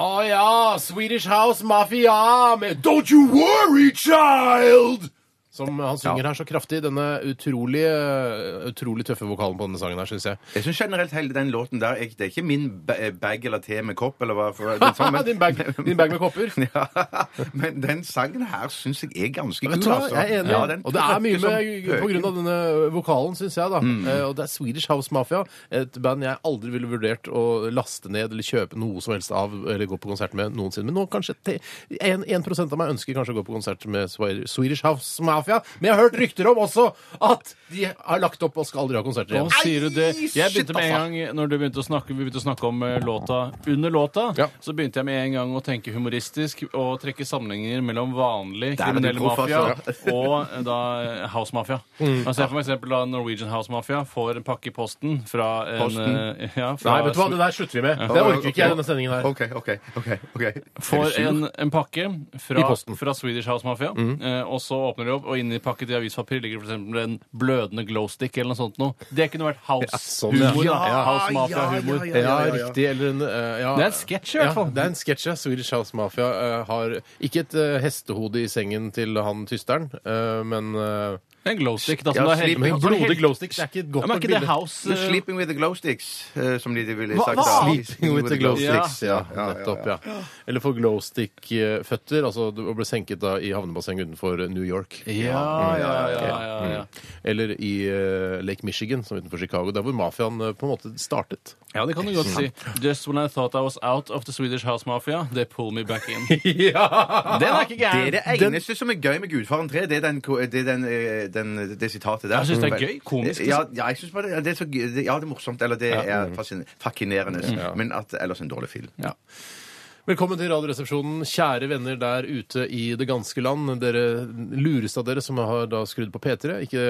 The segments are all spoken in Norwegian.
Å ja! Swedish House Mafia med Don't You Worry Child! Som han synger her så kraftig. Denne utrolig, eh, utrolig tøffe vokalen på denne sangen her, syns jeg. Jeg synes generelt hele den låten der jeg, Det er ikke min ba- eh, bag eller te med kopp eller hva for den sånn, men- Din bag- din bag med kopper. ja, men den sangen her syns jeg er ganske kul, Vet du hva? altså. Jeg er enig. Ja, den og det er mye trykker som med på grunn av denne vokalen, syns jeg, da. Eh, og det er Swedish House Mafia, et band jeg aldri ville vurdert å laste ned eller kjøpe noe som helst av eller gå på konsert med noensinne. Men nå kanskje te- en- 1 av meg ønsker kanskje å gå på konsert med Swe- Swedish House Mafia. Men jeg har hørt rykter om også at de har lagt opp og skal aldri ha konserter Nå igjen. sier du det. Jeg begynte med en altså. gang Når du begynte å snakke, vi begynte å snakke om eh, låta under låta, Ja. så begynte jeg med en gang å tenke humoristisk og trekke sammenhenger mellom vanlig er du kriminell proff, mafia altså. og eh, da eh, house mafia. Mm. Man ser for eksempel da Norwegian House Mafia får en pakke i posten fra en Posten? eh, Ja, fra Nei, vet du hva, det der slutter vi med. Det orker ikke jeg i denne sendingen her. OK, OK. ok, ok. Er du Får sur? en, en pakke I fra, posten. Mm. fra Swedish House Mafia, eh, og så åpner de opp, og inni pakket i avispapir ligger f.eks. en blødende glowstick eller noe sånt noe. Det kunne vært sånn, ja. house-humor. Ja, house mafia-humor. Ja, riktig. Eller en eh, ja. Det er en sketsj, i hvert fall. Ja, det er en sketsj. ja. Swedish House Mafia eh, har ikke et eh, hestehode i sengen til han tysteren, eh, men eh, En glowstick, da. Ja, Som det er slip- helt, Men altså, blodig helt- glowstick det er ikke et Ja, godt men er ikke det bilde. house The eh, Sleeping with the glow sticks, eh, som de ville Hva- sagt. hva da. annet? Sleeping with the glow sticks, ja. ja, ja, Nettopp, ja. Eller for glowstick-føtter, altså å bli senket da i havnebasseng utenfor New York. Ja, ja, ja. ja, Mm. ja. Eller i eh, Lake Michigan, som er utenfor Chicago. Der hvor mafiaen eh, på en måte startet. ja, det kan du godt si. Just when I thought I was out of the Swedish House Mafia, they pull me back in. Den er ikke Det er gæren. det eneste som er gøy med Gudfaren 3. Det er, den, ko- det, er den, eh, den, det sitatet der. Mm. Jeg synes det er gøy, komisk, liksom. Ja, ja, jeg synes bare det, det er så gøy. Det, ja, det er morsomt. Eller det er fascin- fascinerende. Men at, ellers en dårlig film. Velkommen til Radioresepsjonen, kjære venner der ute i det ganske land. Dere lureste av dere som har da skrudd på P3. Ikke,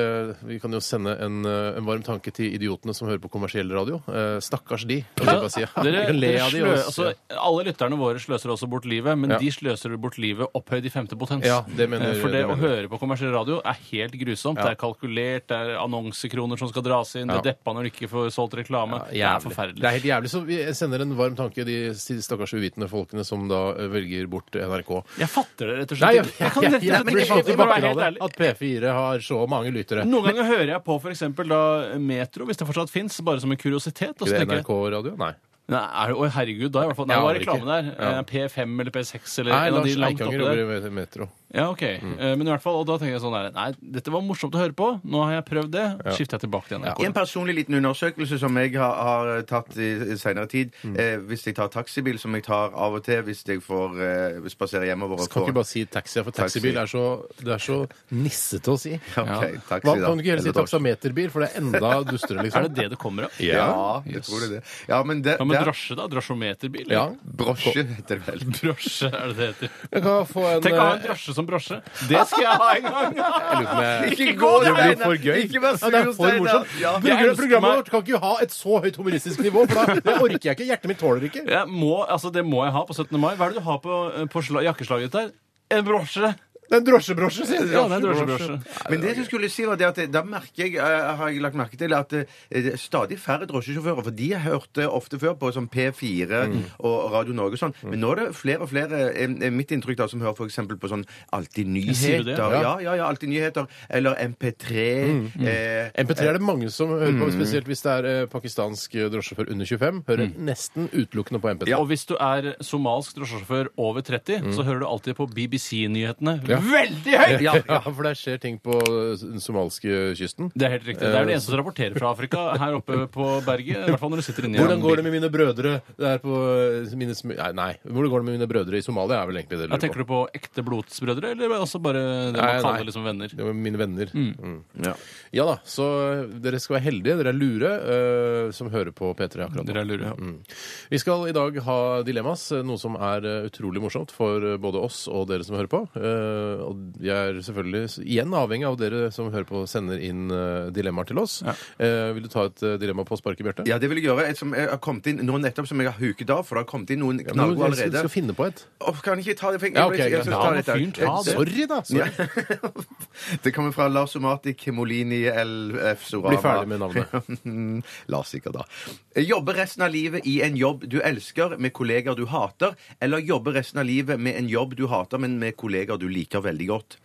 vi kan jo sende en, eh, en varm tanke til idiotene som hører på kommersiell radio. Eh, stakkars de. kan jeg bare si. Vi Dere, kan le dere av de slø, også. altså, alle lytterne våre sløser også bort livet, men Ja. de sløser bort livet opphøyd i femte potens. Ja, det mener- Eh, For det, det å mener. høre på kommersiell radio er helt grusomt. Det er kalkulert, det er annonsekroner som skal dras inn, det Ja. deppa når du ikke får solgt reklame. Jævlig. det er Det er forferdelig. helt jævlig. Så vi sender en varm tanke til de stakkars uvitende folkene som da eh, velger bort NRK. Jeg fatter det rett og Nei, slett jeg, ikke. jeg, kan jeg, rett jeg, og slett blir ikke- faktisk jeg må være bakken helt av det. ærlig. At P4 har så mange lyttere. Noen ganger hører jeg på for eksempel, da Metro, hvis det fortsatt fins, bare som en kuriositet. Og Ikke så det tenker jeg, NRK-radio? Nei. nei, er, å, herregud, da er i hvert fall, nei, Ja, det var det er reklame der. Ja. Eh, P5 eller P6 eller Nei, en av de Lars Eh, langt Eikanger oppi der. jobber i Metro. Ja, ok. Eh, Men i hvert fall, og da tenker jeg sånn der, nei, dette var morsomt å høre på, nå har jeg prøvd det, skifter jeg tilbake til NRK. I en personlig liten undersøkelse som jeg har, har eh, tatt i senere tid eh, Hvis jeg tar taxibil, som jeg tar av og til hvis jeg får eh, spasere hjemover og Kan får- ikke bare si taxi, for taxibil er så, det er så nissete å si. Ok, taxi, Hva, da. kan du ikke heller si Eller dorsk. taksameterbil, for det er enda dustere, liksom. Er det det det kommer av? Ja, jeg tror det er det. Ja, men det, Ja, det men er- drosje da? Drosjometerbil? Ja. Brosje heter det vel. Drosje er det det heter. Jeg kan få en, Tenk å ha en eh, drosje som drosje. Det skal jeg ha en gang! jeg lurer på om jeg- Ikke gå den Det veien! blir for gøy. Ikke vær sur, Ja, det er for Steinar. morsomt. Ja. Programmet- Jeg ønsker Programmet meg- vårt kan ikke ha et så høyt humoristisk nivå, for da det orker jeg ikke. Hjertet mitt tåler ikke. Jeg må, altså, det må jeg ha på 17. mai. Hva er det du har på, eh, på sla jakkeslaget ditt der? En brosje! Det er en drosjebrosje, sier du. Ja, det er en drosjebrosje. Men det jeg skulle si var det at da merker jeg, eh, har jeg lagt merke til at eh, det er stadig færre drosjesjåfører. For de hørte ofte før på sånn P4 Mm. og Radio Norge og sånn. Men nå er det flere og flere, eh, er mitt inntrykk da, som hører f.eks. på sånn Alltid Sier du det? nyheter. Ja, ja, ja, Alltid nyheter. Eller MP3. Mm, Eh, MP3 er det mange som hører Mm. på, spesielt hvis det er eh, pakistansk eh, drosjesjåfør under 25. Hører Mm. nesten utelukkende på MP3. Og hvis du er somalsk drosjesjåfør over 30, så hører du alltid på BBC-nyhetene. Mm. Ja. veldig høyt! Ja, for der skjer ting på eh, den somaliske kysten. Det er helt riktig. Det Eh, er det eneste som rapporterer fra Afrika her oppe på berget. I hvert fall når du sitter inne i Hvordan går det med mine brødre der på eh, mine sm nei, nei, hvordan går det med mine brødre i Somalia? er vel egentlig det ja, Tenker du på ekte blodsbrødre, eller også bare det man Nei, nei. kaller liksom venner? Det var mine venner. Mm. Ja. Ja da, så eh, dere skal være heldige. Dere er lure eh, som hører på P3 akkurat nå. Dere er lure. Ja. Mm. Vi skal i dag ha dilemmas, noe som er eh, utrolig morsomt for eh, både oss og dere som hører på. Eh, og jeg er selvfølgelig s- igjen avhengig av dere som hører på, sender inn eh, dilemmaer til oss. Eh, vil du ta et eh, dilemma på sparket, Bjarte? Ja, det vil jeg gjøre. Et som jeg har kommet inn nå nettopp, som jeg har huket av, for det har kommet inn noen Men du knallgode skal- allerede. skal finne på et. Åh, kan jeg ikke ta det? for jeg- Ja, ok, jeg- jeg- greit. jeg- jeg- jeg- Ja, jeg- jeg- fyren, ta det. Sorry, da! Sorry. Ja. det kommer fra Lars Omati Kemolini LF Sorama. Bli ferdig med navnet. Lars sikkert, da. Jobbe resten av livet i en jobb du elsker, med kolleger du hater, eller jobbe resten av livet med en jobb du hater, men med kolleger du liker veldig godt.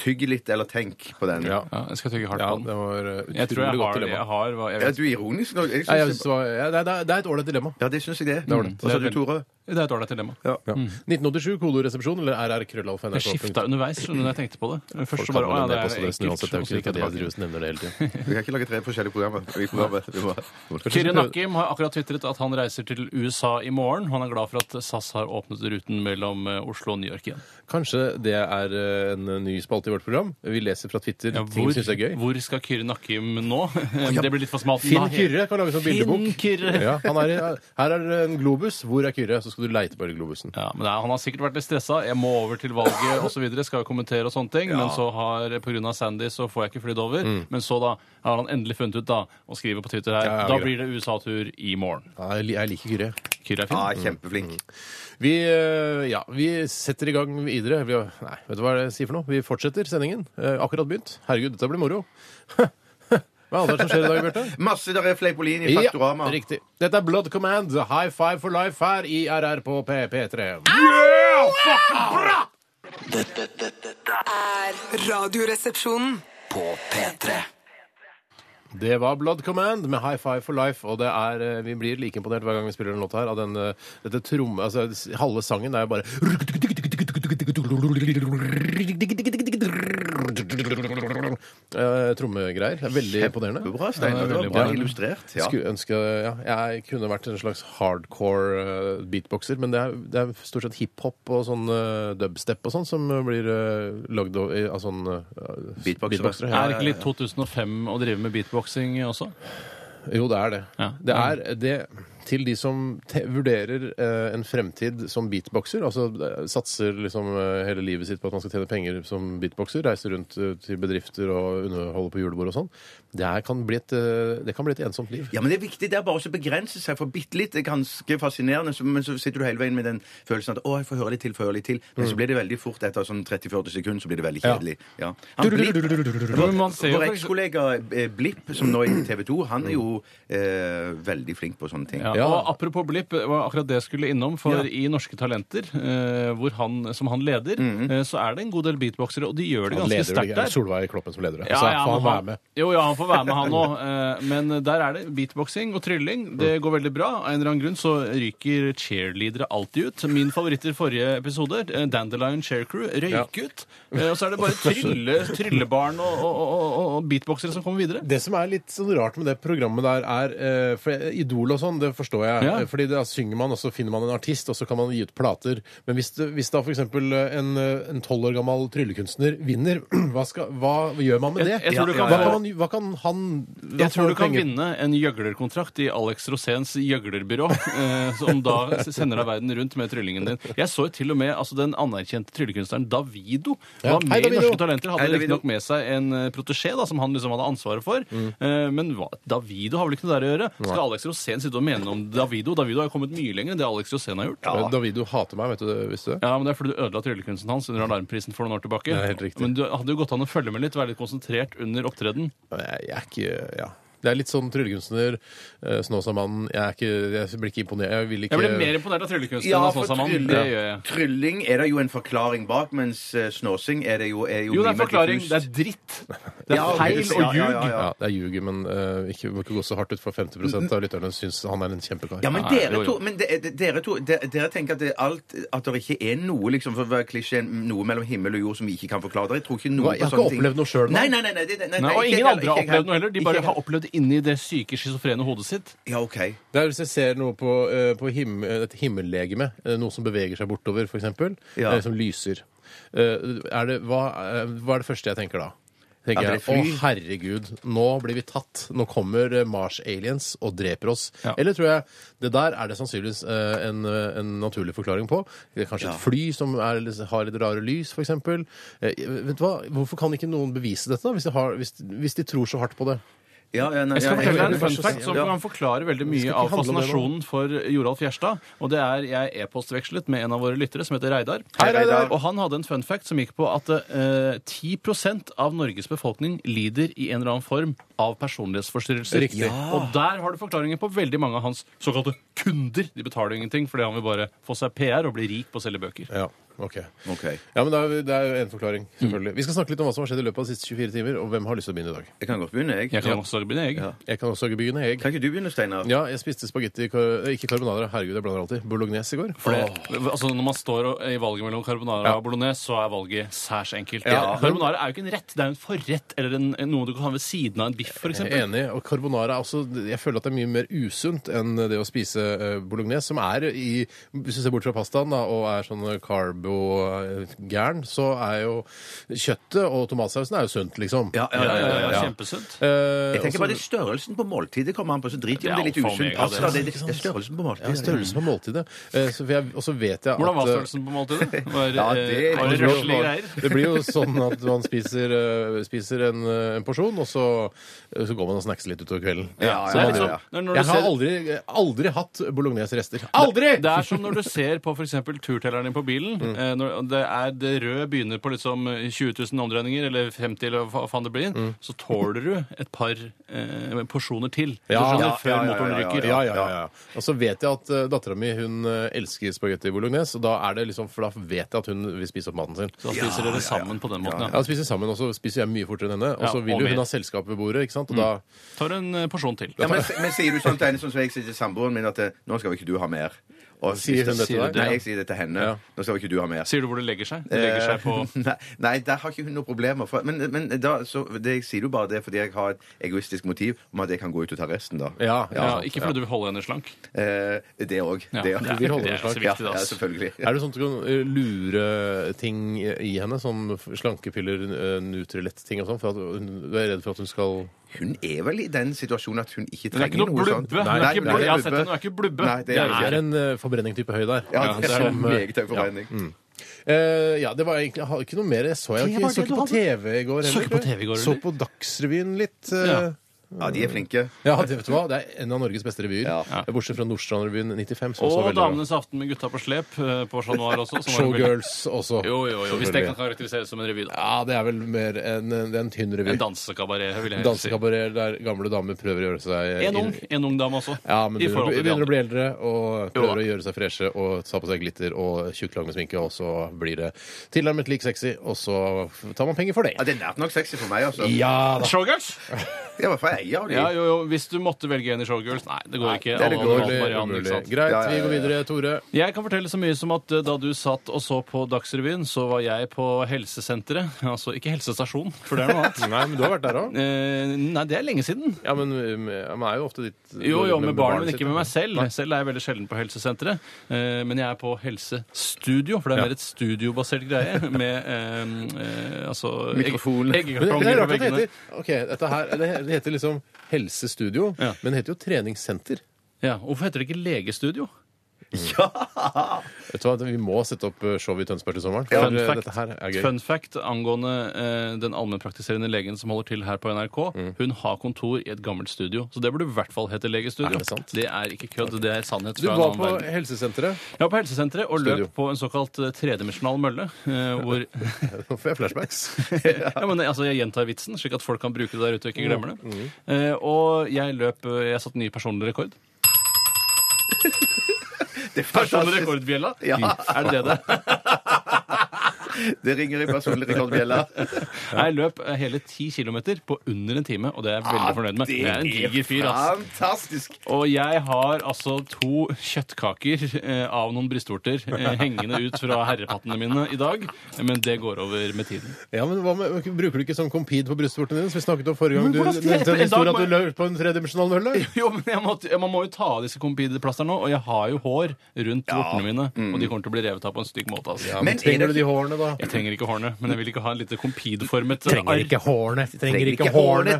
Tygg litt, eller tenk på den. Ja. Ja, jeg skal tygge hardt ja, på den. det var eh, utrolig Jeg tror jeg godt har det. dilemma. Jeg har, hva- jeg Er vet. du ironisk nå? Jeg Nei, jeg synes synes det, var, ja, det, er, det er et ålreit dilemma. Ja, det syns jeg det. er. ålreit. Hva sa du, Tore? Det er et ålreit dilemma. Ja. 1987, kodoresepsjon eller RR-krøllalfa.nrk. Jeg skifta underveis skjønner du, når jeg tenkte på det. Først så Folk bare, kaller å, ja, det nedpå, så det det er er ekkelt. snudd, så det er og så jo ikke gikk at jeg jeg tilbake. driver og nevner det hele tiden. Vi kan ikke lage tre forskjellige programmer. Vi programmet. Vi må- vi må- Kyrre Nakkim har akkurat tvitret at han reiser til USA i morgen. Han er glad for at SAS har åpnet ruten mellom eh, Oslo og New York igjen. Kanskje det er eh, en ny spalte i vårt program. Vi leser fra Twitter Ja, ting hvor, vi syns er gøy. hvor skal Kyrre Nakkim nå? Det blir litt for smalt. Finn Nei. Kyrre kan lage sånn Finn bildebok. Kyrre. Ja, han er, i- her er det en globus. Hvor er Kyrre? Så skal du leite bare i globusen. Ja, men nei, Han har sikkert vært litt stressa. 'Jeg må over til valget' osv. Skal jo kommentere og sånne ting. Men så har pga. Sandy så får jeg ikke flydd over. Men så da har han endelig funnet ut da, og skriver på Twitter her Mm. Ja, ja, Da greit. blir det USA-tur i morgen. Ja, jeg li- jeg liker Kyrre. Kyrre er Ja, fin. Ah, kjempeflink. Vi, eh, ja, vi setter i gang videre. Vi, har- nei, vet du hva jeg sier for noe? Vi fortsetter sendingen. Eh, Akkurat begynt. Herregud, dette blir moro. Hva er det som skjer i dag, Bjarte? Masse der er Fleipolini i Faktorama. Ja, riktig. Dette er Blood Command, High Five for Life her i RR på PP3. Dette, dette, dette er Er Radioresepsjonen. på P3. Det var Blood Command med High Five for Life, og det er, eh, vi blir like imponert hver gang vi spiller en låt her av den, eh, dette tromme... Altså, s- halve sangen er jo bare Eh, Trommegreier. Det er Veldig imponerende. Bra, Steinar. Det var veldig bra bra. illustrert. Ja. Skulle ønske, ja, jeg kunne vært en slags hardcore eh, beatboxer, men det er, det er stort sett hiphop og sånn eh, dubstep og sånn som eh, blir eh, lagd av, i- av sånn eh, Beatboxere. ja. Er det ikke litt 2005 å drive med beatboxing også? Jo, det er det. Ja. Det er det til de som te vurderer eh, en fremtid som beatboxer, altså eh, satser liksom eh, hele livet sitt på at man skal tjene penger som beatboxer, reiser rundt eh, til bedrifter og underholder på julebord og sånn, det, er- kan bli et, eh, det kan bli et ensomt liv. Ja, men det er viktig. Det er bare å begrense seg for bitte litt. Det er ganske fascinerende, så- men så sitter du hele veien med den følelsen at å, jeg får høre litt til, får høre litt til. Mm. Men så blir det veldig fort etter sånn 30-40 sekunder, så blir det veldig kjedelig. Ja. Han Blipp, Men man ser jo vår for eksempel- ekskollega eh, Blipp, som nå er i TV 2, han er jo eh, veldig flink på sånne ting. Ja. Ja. Og apropos Blipp, det var akkurat det jeg skulle innom. For Ja. i Norske Talenter, eh, hvor han, som han leder, eh, så er det en god del beatboxere, og de gjør det Mm. Han ganske leder sterkt det. der. Solveig Kloppen som leder det. Ja, så ja, får men han være med. Jo, ja, han får være med, han òg. Men der er det beatboxing og trylling. Det Mm. går veldig bra. Av en eller annen grunn så ryker cheerleadere alltid ut. Min favoritt i forrige episode, eh, Dandelion Chaircrew, røyk ut. Eh, Og så er det bare trylle, tryllebarn og, og, og, og, og beatboxere som kommer videre. Det som er litt sånn rart med det programmet der, er eh, for Idol og sånn, det forstår jeg. Ja. Eh, Fordi da synger man, og så finner man en artist, og så kan man gi ut plater. Men hvis, det, hvis da f.eks. en eh, en tolv år gammel tryllekunstner vinner, hva, skal, hva gjør man med det? Jeg- jeg tror du kan hva, få- kan man, hva kan han hva Jeg tror får du kan penger- vinne en gjøglerkontrakt i Alex Rosens gjøglerbyrå, eh, som da s- sender deg verden rundt med tryllingen din. Jeg så jo til og med altså, den anerkjente tryllekunstneren Davido Ja. var Hei, med i Davido. Mm. Norske Talenter. Hei, Hadde Davido. riktignok med seg en eh, protesjé da, som han liksom hadde ansvaret for. Eh, Men hva, Davido har vel ikke noe der å gjøre? Skal Alex Rosen sitte og mene noe om Davido? Davido har jo kommet mye lenger enn det Alex Rosen har gjort. Eh, Davido hater meg, vet du det? Visste du det? Ja, men Det er fordi du ødela tryllekunsten hans under Alarmprisen for noen år Det tilbake. er helt riktig. Men du hadde jo gått an å følge med litt, være litt konsentrert under opptreden. Jeg, jeg er ikke Ja. Det er litt sånn tryllekunstner, eh, Snåsamannen Jeg, er ikke- jeg blir ikke imponert. Jeg vil ikke Jeg ble mer imponert av tryllekunsten Ja, enn av for Snåsamannen. trylling, Det gjør jeg. trylling er det jo en forklaring bak, mens eh, snåsing er det jo, er jo Jo, mye det er mer forklaring. diffust. Det er dritt. Det er Ja, feil dritt. og Ja, ja, ljug. ja, ja. Ja, det er ljuget, men eh, ikke, må ikke gå så hardt ut, for 50 av lytterne syns han er en kjempekar. Ja, men Nei, dere jo, jo. to, men de, de, dere, to de, dere tenker at det, er alt, at det ikke er noe liksom, for å være klisjé, noe mellom himmel og jord som vi ikke kan forklare? Dere tror ikke Hva, noe jeg på har sånne ikke opplevd noe selv nå. Nei, nei, nei, nei, det- nei, nei, Nei, ikke jeg og ingen andre har ikke jeg opplevd noe heller. De bare Ikke jeg har opplevd det inni det syke, schizofrene hodet sitt. Ja, OK. Det er Hvis jeg ser noe på, eh, på him et himmellegeme, eh, noe som beveger seg bortover, f.eks., Ja. som lyser, eh, er det, hva, eh, hva er det første jeg tenker da? Tenker At jeg, det Å, flyr? herregud, nå blir vi tatt. Nå kommer eh, Mars-aliens og dreper oss. Ja. Eller tror jeg Det der er det sannsynligvis eh, en, eh, en naturlig forklaring på. Det er kanskje Ja. et fly som er, har litt rare lys, f.eks. Vet du hva? Hvorfor kan ikke noen bevise dette, da, hvis de, har, hvis, hvis de tror så hardt på det? Ja, ja, nei, Jeg skal ja, fortelle ja, deg en ja. fun fact som Ja. kan forklare veldig mye ikke av handle om det nå. fascinasjonen for Joralf Gjerstad. Og det er jeg e-postvekslet med en av våre lyttere som heter Reidar. Hei, Reidar. Og han hadde en fun fact som gikk på at eh, 10 av Norges befolkning lider i en eller annen form av personlighetsforstyrrelser. Riktig. Ja. Og der har du forklaringen på veldig mange av hans såkalte kunder. De betaler jo ingenting fordi han vil bare få seg PR og bli rik på å selge bøker. Ja, ok. Ok. Ja, men det er, det er jo en forklaring, Mm. selvfølgelig. Vi skal snakke litt om hva som har skjedd i løpet av de siste 24 timer, og hvem har lyst til å begynne i dag? Jeg kan godt begynne, jeg. Jeg kan også begynne, jeg. Ja. Jeg kan også begynne, jeg. Kan ikke du begynne, Steinar? Ja, jeg spiste spagetti, kar- eh, ikke carbonara, herregud, jeg blander alltid, bolognese i går. For det, altså Når man står og- i valget mellom carbonara og bolognese, så er valget særs enkelt. Ja. Carbonara er jo ikke en rett, det er jo en forrett eller en, en- noe du kan ha ved siden av en biff. For Jeg er eksempel. enig, og carbonara er også, jeg føler at det er mye mer usunt enn det å spise eh, bolognese, som er i, hvis du ser bort fra pastaen da, og er sånn carbo-gæren, så er jo kjøttet og tomatsausen er jo sunt, liksom. Ja, ja, ja, ja, ja, ja. Kjempesunt. Eh, Jeg tenker også- bare det er størrelsen på måltidet kommer an på, så drit i om altså- Ja, det er litt for usunn meg, ja, pasta. det- Det er det er størrelsen på måltidet. ja, størrelsen på måltidet. Eh, så for jeg- Og så vet jeg at... Hvordan var eh, størrelsen på måltidet? Var, Ja, eh, det- var det det- røslige greier? Det blir jo sånn at man spiser, eh, spiser en, eh, en porsjon, og så, eh, så går man og snackser litt utover kvelden. Ja, Så Så det er man- ja, liksom, ja. når, når du Jeg har ser, aldri, aldri hatt bolognesrester. Aldri! det er som når du ser på for eksempel turtelleren din på bilen. Mm. eh, Når det, er, det røde begynner på liksom 20 000 omdreininger, eller 50 eller hva faen det blir, Mm. så tåler du et par eh, porsjoner til. Hvis Ja, du skjønner, ja, før ja, ja, motoren ja, ja, ryker. Ja, ja, ja, ja. Og så vet jeg at uh, dattera mi hun eh, elsker spagetti bolognese, og da er det liksom, for da vet jeg at hun vil spise opp maten sin. Så da spiser dere sammen på den måten. Ja, Ja. da spiser vi sammen, og så spiser jeg mye fortere enn henne. Og Ja, så vil og jo mer. hun ha selskap ved bordet, ikke sant? Og da Tar en eh, porsjon til. Ja, men, men sier du sånn til henne sånn som jeg sier til samboeren min at eh, nå skal ikke du ha mer? Og Sier hun det til deg? Nei, jeg sier det til henne. Ja. Nå skal ikke du ha mer. Sier du hvor det legger seg? Det legger seg på Nei, nei, der har ikke hun noen problemer. For, men men da, så, det, jeg sier jo bare det fordi jeg har et egoistisk motiv om at jeg kan gå ut og ta resten, da. Ja. ja. ja, Ikke fordi du vil holde henne slank. Eh, det òg. Ja, det det er- òg. Vi holder det er en slag. så Ja, viktig, det, ja, ass. selvfølgelig. Er det sånn at du kan eh, lure ting i henne? Sånn slankepiller, eh, Nutrilett-ting og sånn? For at hun, du er redd for at hun skal Hun er vel i den situasjonen at hun ikke Hun er ikke trenger noe noe blubbe. sånt. Hun er Nei, ikke nei, blubbe. Jeg har det er sett henne, hun er ikke blubbe. Nei, det er hun Det ikke. er en eh, forbrenningstype høy der. Ja, det er som, en eh, meget høy forvreining. Eh, ja, det var egentlig jeg har ikke noe mer. Jeg så, jeg, Det ikke, var jeg så det ikke du på TV i går heller. Så ikke på TV i går, Så eller? på Dagsrevyen litt. Ja. eh. Ja, de er flinke. Ja, det vet du hva? Det er en av Norges beste revyer. Eh, Ja. Bortsett fra Nordstrandrevyen 95. Som også Og er veldig bra. Damenes aften med gutta på slep eh, på Chat Noir også. som var en veldig- Showgirls også. Jo, jo, jo. Hvis det kan karakteriseres som en revy, da. Ja, det er vel mer en, det er en tynn revy. En dansekabaret, vil jeg helst si. Dansekabaret der gamle damer prøver å gjøre seg En ung, en ung dame også. Ja, men I begynner, forhold til de begynner å andre. bli eldre og Jo da. prøver å gjøre seg freshe og ta på seg glitter og tjukk lang med sminke, og så blir det tilnærmet lik sexy, og så tar man penger for det. Ja, det er nært nok sexy for meg, altså. Ja da. Showgirls? Jeg var fra eier av de. Ja, jo, jo. Hvis du måtte velge en i Showgirls Nei, det går ikke. det er Alle det andre går valgte Umulig, Marianne, ikke umulig. sant? Greit, Ja, ja, vi ja, går ja. videre. Tore. Jeg kan fortelle så mye som at eh, da du satt og så på Dagsrevyen, så var jeg på helsesenteret. Altså ikke helsestasjon, for det er noe annet. Nei, men du har vært der òg. Eh, nei, det er lenge siden. Ja, men um, man er jo ofte ditt Jo, jo, med barn, men ikke med meg sitt. selv. Selv er jeg veldig sjelden på helsesenteret. Eh, Men jeg er på helsestudio, for det er Ja. mer et studiobasert greie. Med eh, eh, altså Mikrofon. Men det, det er Eggekartonger rart på at det veggene. heter Ok, dette her, det he- det heter liksom helsestudio, Ja. men det heter jo treningssenter. Ja, Hvorfor heter det ikke legestudio? Ja! Vet du hva, Vi må sette opp eh, show i Tønsberg til sommeren. For Fun eh, fact, dette her er gøy. fun fact angående eh, den allmennpraktiserende legen som holder til her på NRK. Mm. Hun har kontor i et gammelt studio, så det burde i hvert fall hete legestudio. Er det sant? det er ikke kødd, det er sannhet. Du fra en var annen på verden. helsesenteret. Jeg var på helsesenteret og Studio. løp på en såkalt eh, tredimensjonal mølle. eh, hvor, Nå får jeg flashbacks. ja, men, altså, jeg gjentar vitsen, slik at folk kan bruke det der ute og ikke glemmer det. Eh, og jeg løp eh, Jeg satte ny personlig rekord. Det er fantastisk. Personlig rekordbjella? Ja. Mm. Er det det det er? Det ringer i personlig rekordbjella. Jeg løp eh, hele ti kilometer på under en time, og det er jeg veldig fornøyd med. Jeg er en diger fyr, ass. Fantastisk! Og jeg har altså to kjøttkaker eh, av noen brystvorter eh, hengende ut fra herrepattene mine i dag, men det går over med tiden. Ja, men hva med, Bruker du ikke sånn compete på brystvortene dine? Som vi snakket om forrige gang Men du hvordan skal jeg- nevnte en en dag historie må at du jeg- løp på en tredimensjonal mølle? Jo, men jeg måtte, jeg, Man må jo ta av disse kompideplasterne nå, og jeg har jo hår rundt vortene mine. Og de kommer til å bli revet av på en stygg måte. altså. Ja, men, Men er trenger det- du de hårene, da? Jeg trenger ikke hårene, men jeg vil ikke ha en lite kompidformet hårene. Trenger ikke hårene.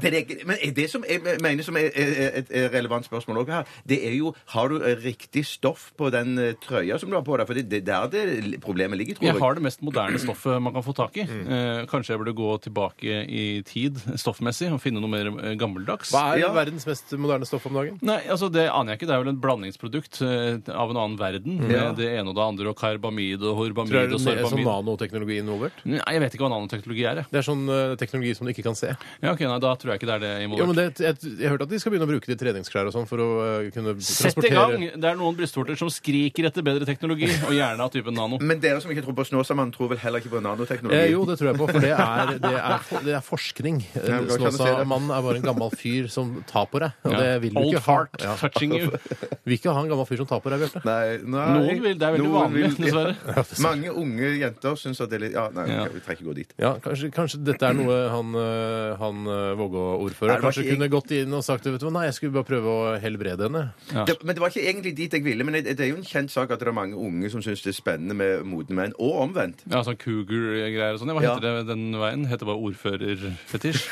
trenger- Men er det som jeg mener som er er- et et relevant spørsmål også her, det er jo har du eh, riktig stoff på den eh, trøya som du har på deg? For det det er der det problemet ligger, tror jeg. Jeg har det mest moderne stoffet man kan få tak i. Mm. Eh, kanskje jeg burde gå tilbake i tid stoffmessig og finne noe mer eh, gammeldags. Hva er Ja. verdens mest moderne stoff om dagen? Nei, altså Det aner jeg ikke. Det er vel et blandingsprodukt eh, av en annen verden. Med det ene og det andre og karbamid og Tror horbamid jeg og det er sånn sorbamid. nanoteknologi involvert? Nei, Jeg vet ikke hva nanoteknologi er. jeg. Det er sånn eh, teknologi som du ikke kan se. Ja, ok, nei, Da tror jeg ikke det er det involvert. Jo, men det, jeg, jeg hørte at de skal begynne å bruke de treningsklær og sånn for å eh, kunne Sett i transportere gang! Det er noen brystvorter som skriker etter bedre teknologi, og gjerne av typen nano. Men dere som ikke tror på Snåsamann, tror vel heller ikke på nanoteknologi? Eh, jo, det tror jeg på, for det er, det er, det er forskning. Ja, Eh, men kan du si det? Snåsamannen er bare en gammel fyr som tar på deg. Og Ja. det vil du Old ikke ha. fart Ja. touching you. Vil ikke ha en gammel fyr som tar på deg, Bjarte. Nei, nei. Noen vil, det er veldig Noen vanlig, vil- dessverre. Mange unge jenter syns at det er litt Ja, nei, Ja. ok, vi trenger ikke gå dit. Ja, kanskje, kanskje dette er noe han, eh, han eh, Nei, Vågå-ordfører det var kanskje ikke- kunne gått inn og sagt vet du hva, Nei, jeg skulle bare prøve å helbrede henne. Ja. Det, men det var ikke egentlig dit jeg ville. Men det, det er jo en kjent sak at det er mange unge som syns det er spennende med modne menn. Og omvendt. Ja, sånn cougar-greier og sånn. Ja, Hva Ja. heter det den veien? Heter bare ordførerfetisj?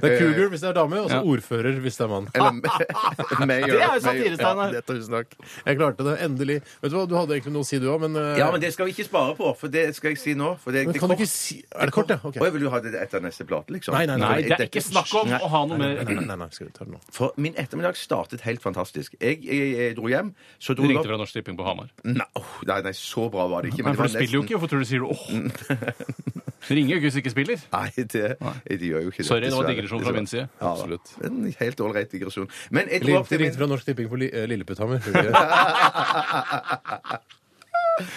Det er cougar hvis det er dame, og så Ja. ordfører hvis det er mann. Eh, Eller mayor. Det er jo mayor. satire, Steinar! Ja, tusen takk. Jeg klarte det endelig. Vet Du hva, du hadde egentlig noe å si, du òg, men, eh, Ja, men det skal vi ikke spare på, for det skal jeg si nå. For det, men det kan du kort- ikke si Er det kort, ja? Ok. Og jeg vil jo ha det etter neste plate, liksom. Nei, nei, nei. Nei, det er ikke snakk om Nei. å ha noe Nei, mer nei, nei, nei, skal vi ta det nå. For min ettermiddag startet helt fantastisk. Jeg, jeg, jeg dro hjem, så dro Du jeg ringte opp fra Norsk Tipping på Hamar. nei, åh, nei, nei, så bra var det ikke. Nei, det for du var spiller jo nesten- ikke. Hvorfor tror du du sier du åh? Du ringer jo ikke hvis du ikke spiller. Nei, det, det gjør jo ikke det. Sorry, det var dessverre. digresjon fra min side. Ja, da. Absolutt. En helt ålreit digresjon. Men jeg dro opp til Ringte min fra Norsk Tipping på Li- eh, Lilleputthammer.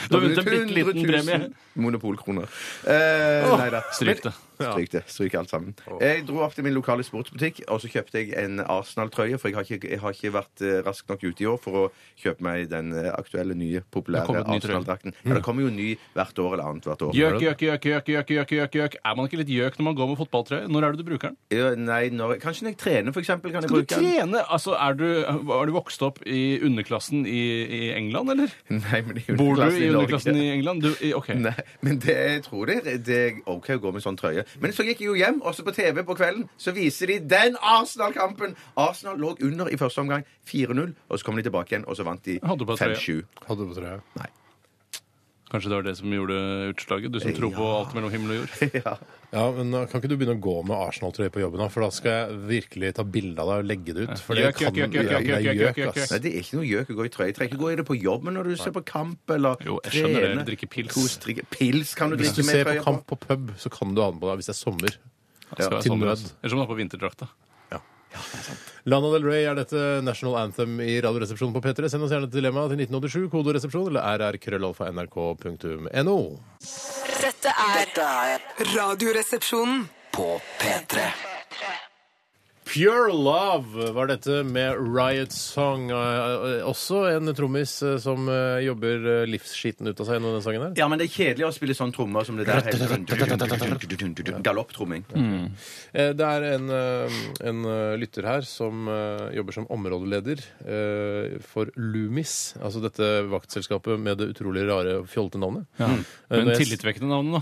Du har vunnet en bitte liten 100 000 premie. Monopolkroner. Eh, nei da. Stryk det. Men- Stryk det. Stryk alt sammen. Jeg dro opp til min lokale sportsbutikk, og så kjøpte jeg en Arsenal-trøye, for jeg har, ikke, jeg har ikke vært eh, rask nok ute i år for å kjøpe meg den eh, aktuelle, nye, populære kommet ny trøye. Arsenal-drakten. Ja, det kommer jo ny hvert år eller annethvert år. Gjøk, gjøk, gjøk, gjøk, gjøk, gjøk, gjøk, gjøk. Er man ikke litt gjøk når man går med fotballtrøye? Når er det du bruker den? Ja, Nei, når, kanskje når jeg trener, for eksempel, kan jeg Skal du bruke den. trene? Altså, er du, har du vokst opp i underklassen i, i England, eller? Nei, men det er jo Bor du underklassen i Norge. underklassen i England? Du, i, ok. Nei, men det, jeg tror det, er- det er OK å gå med sånn trøye. Men så gikk jeg jo hjem, også på TV på kvelden, så viser de den Arsenal-kampen! Arsenal lå under i første omgang 4-0, og så kom de tilbake igjen, og så vant de Hadde du på trøye? 5-7. Hadde du på trøya? Kanskje det var det som gjorde utslaget? Du som tror på alt mellom himmel og jord? Ja, men uh, Kan ikke du begynne å gå med Arsenal-trøye på jobben, da? For da skal jeg virkelig ta bilde av deg og legge det ut. For det Gjøk, kan gjøk, gjøk, gjøk, Ja, det er gjøk, gjøk, ass. Nei, det er ikke noe gjøk å gå i trøye. Trenger ikke gå i det på jobben når du ser på kamp, eller Jo, jeg skjønner det. Drikke pils. Kos, drikke pils kan du Hvis du drikke med ser på trøye på. kamp på pub, så kan du ha den på deg hvis det er sommer. Det skal være Til sommer, nød. altså. Eller som du har på vinterdrakta. Lana Del Rey er dette National Anthem i Radioresepsjonen på P3. Send oss gjerne et dilemma til 1987, kodoresepsjon eller rrkrøllalfa.nrk.no. Dette er Dette er Radioresepsjonen. på P3 Pure Love var dette med Riot Song. Eh, Også en trommis eh, som eh, jobber eh, livsskiten ut av seg gjennom den sangen her. Ja, men det er kjedelig å spille sånn trommer som det der. hele tiden. Galopptromming. Eh, Det er en, eh, en eh, lytter her som eh, jobber som områdeleder eh, for Lumis, altså dette vaktselskapet med det utrolig rare og fjollete navnet. Eh, Mm. Men når jeg- tillitvekkende navn, da.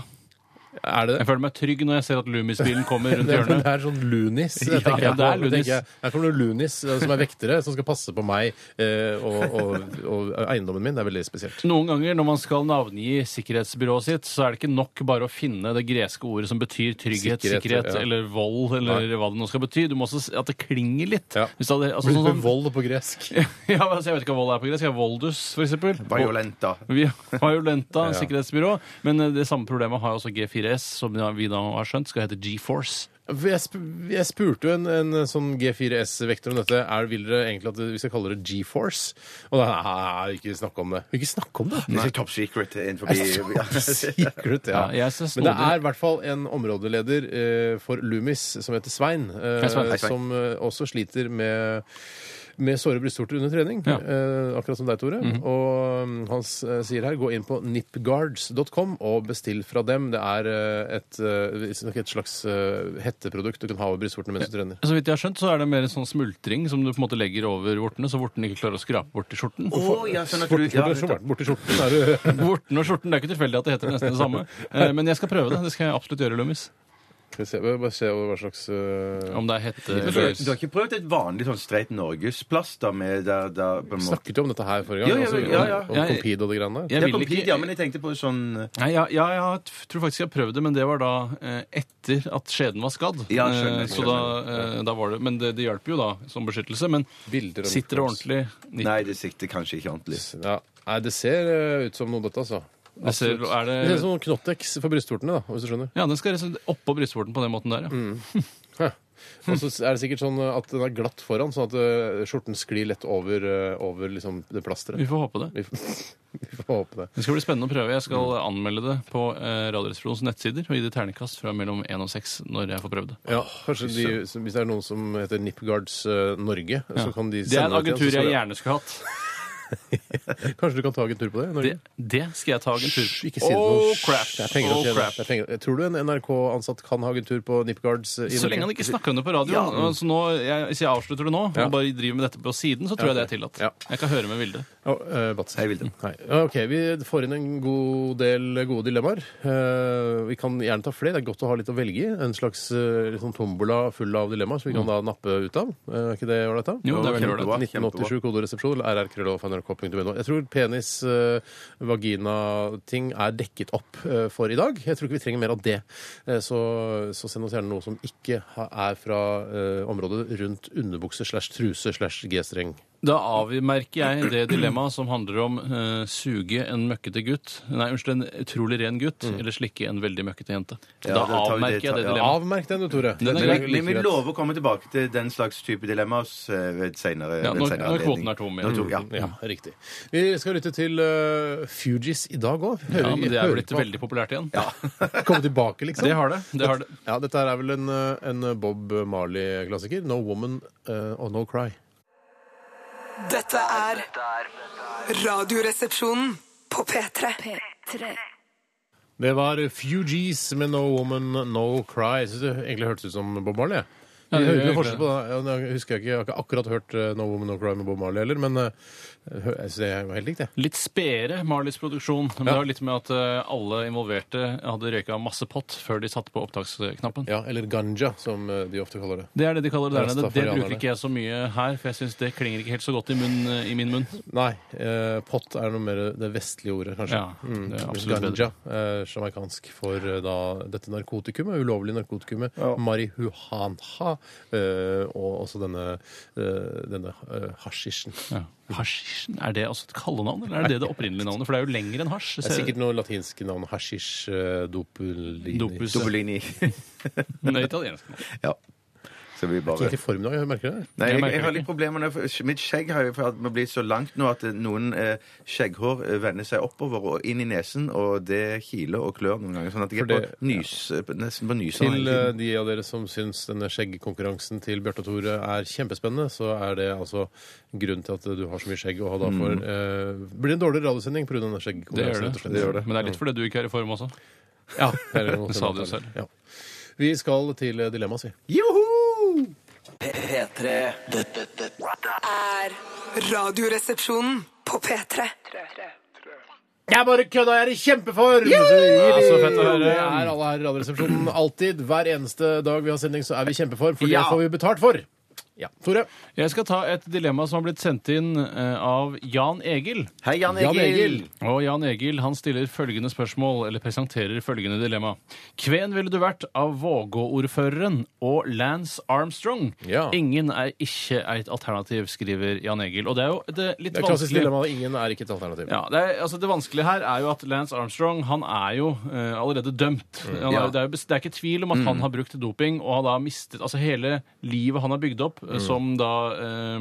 Er det det? Jeg føler meg trygg når jeg ser at Loomis-bilen kommer rundt Det er, det hjørnet. er sånn lunis. Ja, Jeg tenker ja, jeg det er på. lunis. Tenker jeg, Her kommer det lunis eh, som er vektere, som skal passe på meg eh, og, og, og eiendommen min. Det er veldig spesielt. Noen ganger når man skal navngi sikkerhetsbyrået sitt, så er det ikke nok bare å finne det greske ordet som betyr trygghet, Sikkerhet, sikkerhet, ja. eller vold, eller hva det nå skal bety. Du må også se at det klinger litt. Ja. Hvis det hadde, altså, Blir sånn, det som- vold på gresk? ja, altså, jeg vet ikke hva vold er på gresk. Jeg er voldus, for eksempel. Violenta. Vi har jo Lenta, Ja. sikkerhetsbyrå, men eh, det samme problemet har jo også G4S, som ja, vi da har skjønt skal hete GeForce. Jeg, sp jeg spurte jo en, en sånn G4S-vekter om dette. Er, vil dere egentlig at det- vi skal kalle det G-force? Og da nei, ikke snakke om det. Ikke snakke om det? Det er top secret innenfor Secret, ja. Ja, jeg synes Men det snodig. er i hvert fall en områdeleder eh, for Lumis som heter Svein, eh, Hei, Svein. Hei, Svein. som eh, også sliter med med såre brystvorter under trening, Ja. Mhm. eh, akkurat som deg, Tore. Og mm, han s- eh, sier her gå inn på nipguards.com og bestill fra dem. Det er eh, et, eh, et slags eh, hetteprodukt du kan ha over brystvortene mens du trener. Så vidt jeg har skjønt, så er det mer en sånn smultring som du på en måte legger over vortene, så vortene ikke klarer å skrape bort til skjorten. Oh, ja, sånn at du, Borti ja, skjorten, borti skjorten er du Vorten og skjorten, det er ikke tilfeldig at det heter nesten det samme. Eh, Men jeg skal prøve det. Det skal jeg absolutt gjøre, Lummis. Skal vi se, bare se hva slags eh, Om det er hette Men du, du har ikke prøvd et vanlig sånn streit norgesplaster med der, der på en måte Snakket du om dette her forrige Ja, gang? ja, altså, ja, ja. Om Compede og det greiene der? Jeg Det vil kom ikke- hit, ja, men jeg tenkte på sånn Nei, ja, ja, jeg t- tror faktisk jeg prøvde, men det var da eh, etter at skjeden var skadd. Ja, skjønner, Eh, Så da, skjønner. eh, da var det Men det, det hjalp jo da som beskyttelse. Men Bilder og sitter det ordentlig? Nei, det sikter kanskje ikke ordentlig. Ja. Nei, det ser eh, ut som noe dette, altså. Det ser, Absolutt. er Det ser ut det som noen Knottex for brystvortene, da, hvis du skjønner. Ja, den skal rett oppå brystvorten på den måten der, ja. Mm. Hm. Og så er det sikkert sånn at den er glatt foran, sånn at eh, skjorten sklir lett over, eh, over liksom, det plasteret. Vi får håpe det. Vi får, vi får håpe det. Det skal bli spennende å prøve. Jeg skal anmelde det på eh, Radioresepsjonens nettsider og gi det terningkast fra mellom én og seks når jeg får prøvd det. Ja, kanskje de, som- Hvis det er noen som heter Nipguards eh, Norge, så kan de Det er en sende agentur til oss, jeg og gjerne skulle hatt. så- Kanskje du kan ta en tur på det? i Norge? Det, det skal jeg ta agentur Hysj, Ikke si det Oh, noe. Hysj, crap. Det er penger å Oh, tjene. crap. Det er penger. Tror du en NRK-ansatt kan ha agentur på Nipguards? eh, i Så Norge? lenge han ikke snakker om det på radio. Så nå, jeg, hvis jeg avslutter det nå Ja. og bare driver med dette på siden, så tror jeg det er tillatt. Ja. Jeg kan høre med Vilde. Ja, eh, Batse. Hei, Vilde. Nei. Ok, Vi får inn en god del gode dilemmaer. Eh, vi kan gjerne ta flere. Det er godt å ha litt å velge i. En slags eh, litt sånn tombola full av dilemmaer som vi kan da nappe ut av. Eh, Er ikke det ålreit, da? Mm. Jo, det er veldig kjempebra. ålreit. 1987 kodoresepsjon eller rrkrølloff.nrk.no. Jeg tror penis, eh, vagina-ting er dekket opp eh, for i dag. Jeg tror ikke vi trenger mer av det. Eh, så, så send oss gjerne noe som ikke ha- er fra eh, området rundt underbukse slash truse slash G-streng. Da avmerker jeg det dilemmaet som handler om eh, suge en møkkete gutt Nei, unnskyld, en utrolig ren gutt, eller slikke en veldig møkkete jente. Ja, da det tar vi- avmerker det tar- jeg det ja. dilemmaet. Avmerk den, du, Tore. Den er Det grei. jo Men vi greit. lover å komme tilbake til den slags type dilemmas eh, ved senere, Ja, ved når- senere når kvoten anledning. er tom igjen. Når to- ja. Ja, Mm. riktig. Vi skal lytte til uh, Fugees i dag òg. Ja, men det er blitt veldig populært igjen. Komme tilbake, liksom. Det har det. det, har det. Ja, dette her er vel en, eh, en Bob Marley-klassiker. No Woman eh, og No Cry. Dette er Radioresepsjonen på P3. Det var Fugees med No Woman, No Cry. Jeg synes det egentlig hørtes ut som Bob Marley. jeg. Ja, Jeg det hører gjør ikke jeg forskjell på det. Ja, Jeg husker jeg ikke, jeg har ikke akkurat hørt eh, No Woman, No Cry med Bob Marley heller, men eh, jeg hø- jeg synes det var helt likt, jeg. Litt spedere Marleys produksjon. Men det har litt med at eh, alle involverte hadde røyka masse pott før de satte på opptaksknappen. Ja, eller ganja, som eh, de ofte kaller det. Det er det de kaller det der nede. Det Rastafarianerne. bruker ikke jeg så mye her, for jeg syns det klinger ikke helt så godt i, munn, i min munn. Nei, eh, pott er noe mer det vestlige ordet, kanskje. Mm, Ja, det er absolutt Ganja, eh, jamaicansk for eh, da dette narkotikumet, ulovlige narkotikumet, marihuana, eh, og også denne, eh, denne eh, hasjisjen. Ja. Hasjisjen, er det også et kallenavn, eller er det det opprinnelige navnet? For det er jo lenger enn hasj. Det er sikkert noe latinske navn. Hasjisj, eh, dopulini Dopus. Dobbelini. Men det er italiensk. navn. ja. Så vi Det er bare Ikke i formiddag, jeg merker det. Nei, jeg, merker jeg har jeg litt problemer med for Mitt skjegg har jo for at det blitt så langt nå at eh, noen eh, skjegghår eh, vender seg oppover og inn i nesen, og det kiler og klør noen ganger. Sånn at jeg For er på det- nys, eh, nesten på nysene Til hele eh, tiden. de av dere som syns denne skjeggkonkurransen til Bjarte og Tore er kjempespennende, så er det altså grunnen til at du har så mye skjegg og har da for eh, Blir det en dårlig radiosending pga. denne Mm. Det gjør skjeggkonkurransen, det. rett og slett. Men det er litt fordi du ikke er i form også. Ja, det er noe Det sa sånt du antagelig. selv. Ja. Vi skal til eh, dilemmas, vi. Joho! P3 Dette, dette Er Radioresepsjonen på P3. Jeg bare kødda, jeg er i kjempeform! Ja, så fett å høre. Det er alle her i Radioresepsjonen alltid. Hver eneste dag vi har sending, så er vi i kjempeform, for Ja. det får vi betalt for. Ja, Tore. Jeg skal ta et dilemma som har blitt sendt inn eh, av Jan Egil. Hei, Jan Egil. Jan Egil. Og Jan Egil han stiller følgende spørsmål, eller presenterer følgende dilemma. Kven ville du vært av Vågå-ordføreren og Lance Armstrong? Ja. Ingen er ikke et alternativ, skriver Jan Egil. Og det er jo et eh, litt Det er klassisk vanskelig dilemma. Ingen er ikke et alternativ. ja, det, er, altså det vanskelige her er jo at Lance Armstrong han er jo eh, allerede dømt. Mm. Han er, Ja. jo- det, er jo, bes- det er ikke tvil om at han har brukt doping og har da mistet altså hele livet han har bygd opp Mm. eh, som da eh,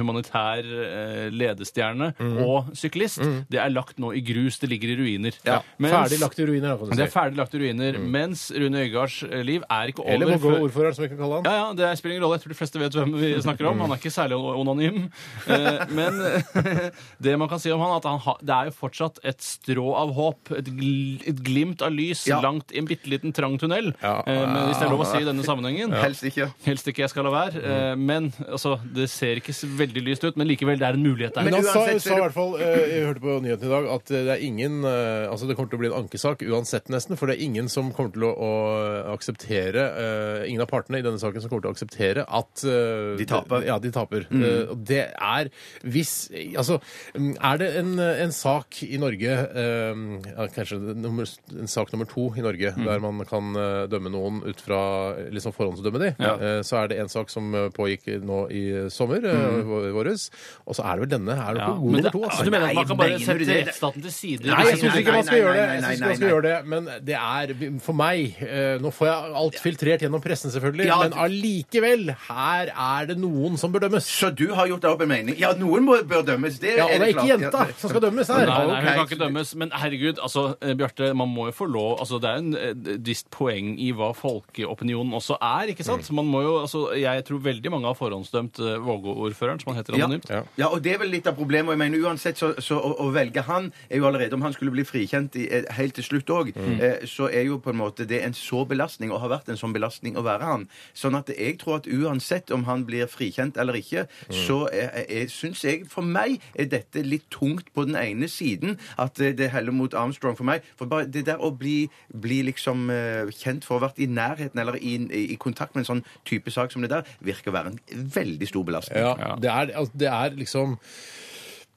humanitær eh, ledestjerne Mm. og syklist. Det er lagt nå i grus. Det ligger i ruiner. Ja. Mens- Ferdig lagt i ruiner, da, kan Det du er si. Mm. ferdig lagt i ruiner. Mens Rune Øygards eh, liv er ikke over. Eller må gå før- ordføreren, som vi kan kalle han. ja, ja, det spiller ingen rolle. Jeg tror de fleste vet hvem vi snakker om. Han er ikke særlig anonym. Eh, Men det man kan si om han, er at han har- det er jo fortsatt et strå av håp. Et gl- et glimt av lys Ja. langt i en bitte liten trang tunnel. Ja. Eh, Men hvis det er lov å si i denne sammenhengen. Helst ikke. Helst ikke jeg skal la være. Mm. eh, Men altså, det ser ikke så veldig lyst ut. Men likevel, det er en mulighet der. Men han sa, uansett så sa er i det- hvert fall, eh, jeg hørte på nyheten i dag, at eh, det er ingen eh, Altså det kommer til å bli en ankesak uansett, nesten, for det er ingen som kommer til å, å akseptere eh, Ingen av partene i denne saken som kommer til å akseptere at eh, De taper. Mm. Ja, de taper. Eh, Og det er hvis Altså, mm, er det en, en sak i Norge eh, ja, Kanskje nummer, en sak nummer to i Norge Mm. der man kan eh, dømme noen ut fra liksom forhåndsdømme de, eh, så er det en sak som eh, pågikk nå i sommer, Mm. eh, vå- våres, og så er det vel denne. Er det Ja, på god men nummer det, to, altså, altså? du mener at man kan bare Nei, mener du sette det? rettsstaten til side? Nei, jeg syns ikke man skal nei, gjøre det. nei, Jeg nei, synes ikke man nei, skal gjøre det. Men det er for meg eh, Nå får jeg alt filtrert gjennom pressen, selvfølgelig, Ja, men allikevel, her er det noen som bør dømmes. Så du har gjort deg opp en mening? Ja, noen må, bør dømmes. Det Ja, og det er ikke klart. jenta som skal dømmes her. Nei, nei, hun ok. kan ikke dømmes. Men herregud, altså, eh, Bjarte, man må jo få lov altså, Det er en eh, visst poeng i hva folkeopinionen også er, ikke sant? Man må jo, altså, jeg tror veldig mange har forhåndsdømt eh, Vågå-ordføreren, som han heter Ja. anonymt. Ja. ja, og det er vel litt av problemet. og Jeg mener, uansett, så, så å, å velge han er jo allerede Om han skulle bli frikjent i, eh, helt til slutt òg, eh, så er jo på en måte det en så belastning, og har vært en sånn belastning å være han. Sånn at jeg tror at uansett om han blir frikjent eller ikke, så eh, syns jeg For meg er dette litt tungt på den ene siden, at eh, det heller mot Armstrong for meg. For bare det der å bli, bli liksom eh, kjent for å ha vært i nærheten eller i, i, i kontakt med en sånn type sak som det der, virker å være en veldig stor belastning. Ja, Det, er, altså, det er liksom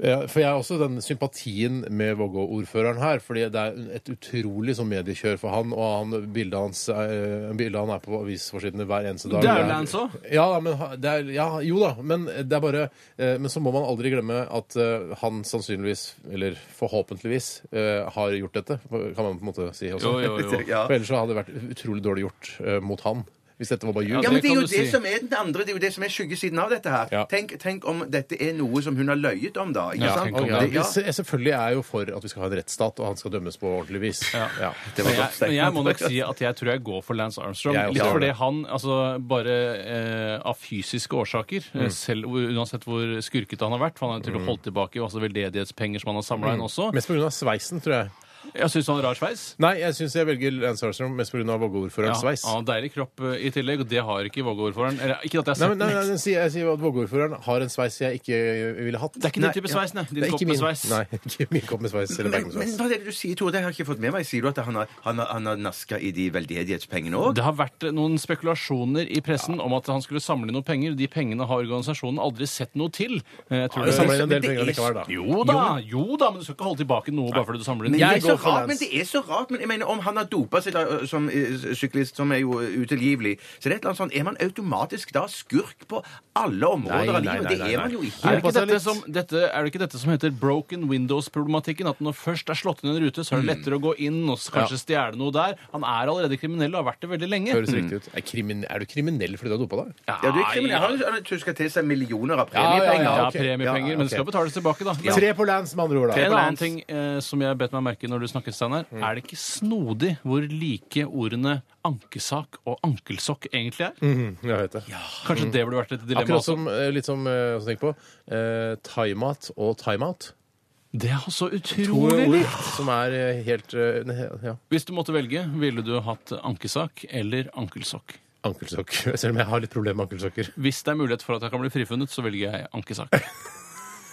ja, for Jeg har også den sympatien med Vågå-ordføreren her. fordi Det er et utrolig sånn mediekjør for han. og han, Bildet hans eh, bildet han er på avisforsidene hver eneste dag. Det er jo Lance også. Ja, da, men, ha- det er, ja, jo da, men det er bare eh, Men så må man aldri glemme at eh, han sannsynligvis, eller forhåpentligvis, eh, har gjort dette. Kan man på en måte si også. Jo, jo, jo. Ja. For ellers så hadde det vært utrolig dårlig gjort eh, mot han. Hvis dette var bare Ja, ljug. Ja, men det det er kan jo du det si. som er den andre, det er jo det som er skyggesiden av dette her. Ja. Tenk, tenk om dette er noe som hun har løyet om, da. Ikke Ja, sant? tenk om Ja, Det- vi ja. se- selvfølgelig er jeg jo for at vi skal ha en rettsstat, og han skal dømmes på ordentlig vis. Ja. Det var Men jeg, godt sagt. men jeg må nok si at jeg tror jeg går for Lance Armstrong. Jeg også Litt gjør fordi det. han, altså bare eh, av fysiske årsaker, eh, selv hvor- uansett hvor skurkete han har vært, for han har til og med holdt tilbake i masse veldedighetspenger som han har samla inn også. Mest pga. sveisen, tror jeg. Jeg syns han har rar sveis. Nei, jeg syns jeg velger Lance Armstrong mest pga. Vågå-ordførerens Ja, sveis. han har deilig kropp eh, i tillegg, og det har ikke Vågå-ordføreren. Eller, Ikke at Nei, jeg har sett men, nei, den. nei, jeg, sier, jeg sier at Vågå-ordføreren har en sveis jeg ikke eh, ville hatt. Det er ikke din type sveis, nei. Din Det er kopp ikke med min, sveis. nei, ikke min kopp med sveis eller Men, bag med men sveis. hva er det du sier, Tore? Det har jeg ikke fått med meg. Sier du at han har, han har, han har naska i de veldedighetspengene òg? Det har vært eh, noen spekulasjoner i pressen om at han skulle samle inn noen penger. De pengene har organisasjonen aldri sett noe til. Eh, Jeg tror Vi det- samler inn en del det penger er- likevel, da. Jo da, jo da, men du skal ikke holde tilbake noe bare fordi du samler inn. Men det, er Jeg så går for rart, men Lance. det er så rart. Men jeg mener, om han har dopa seg da, ø, som ø, syklist, som er jo ø, utilgivelig, så det er et eller annet sånn Er man automatisk da skurk på alle områder Nei, av nei, nei, livet? Det nei, er nei. man jo Er ikke. det, ikke dette som, dette, er det ikke dette som heter broken windows-problematikken? At når først er slått inn en rute, så er det lettere å gå inn og s- kanskje stjele noe der. Han er allerede kriminell og har vært det veldig lenge. Høres riktig ut. Er, krimin er du kriminell fordi du har dopa deg? Ja, du er kriminell. Han har jo tuska til seg millioner av Ja, ja, ja, premiepenger. Ja, ok. premiepenger, Ja, men det ok. skal betales tilbake, da. Tre på Lance, med andre ord. En da. annen ting eh, som jeg bet meg merke når du snakket, Steinar, Mm. er det ikke snodig hvor like ordene ankesak og ankelsokk egentlig er? Mm, Jeg vet det. Kanskje det burde vært et dilemma Akkurat også? som eh, litt som eh, å tenke på eh, timeout og timeout. Det er så To utrolig ord likt! som er eh, helt eh, ne- ja, Hvis du måtte velge, ville du hatt ankesak eller ankelsokk? ankelsokk. Selv om jeg har litt problemer med ankelsokker. Hvis det er mulighet for at jeg kan bli frifunnet, så velger jeg ankesak.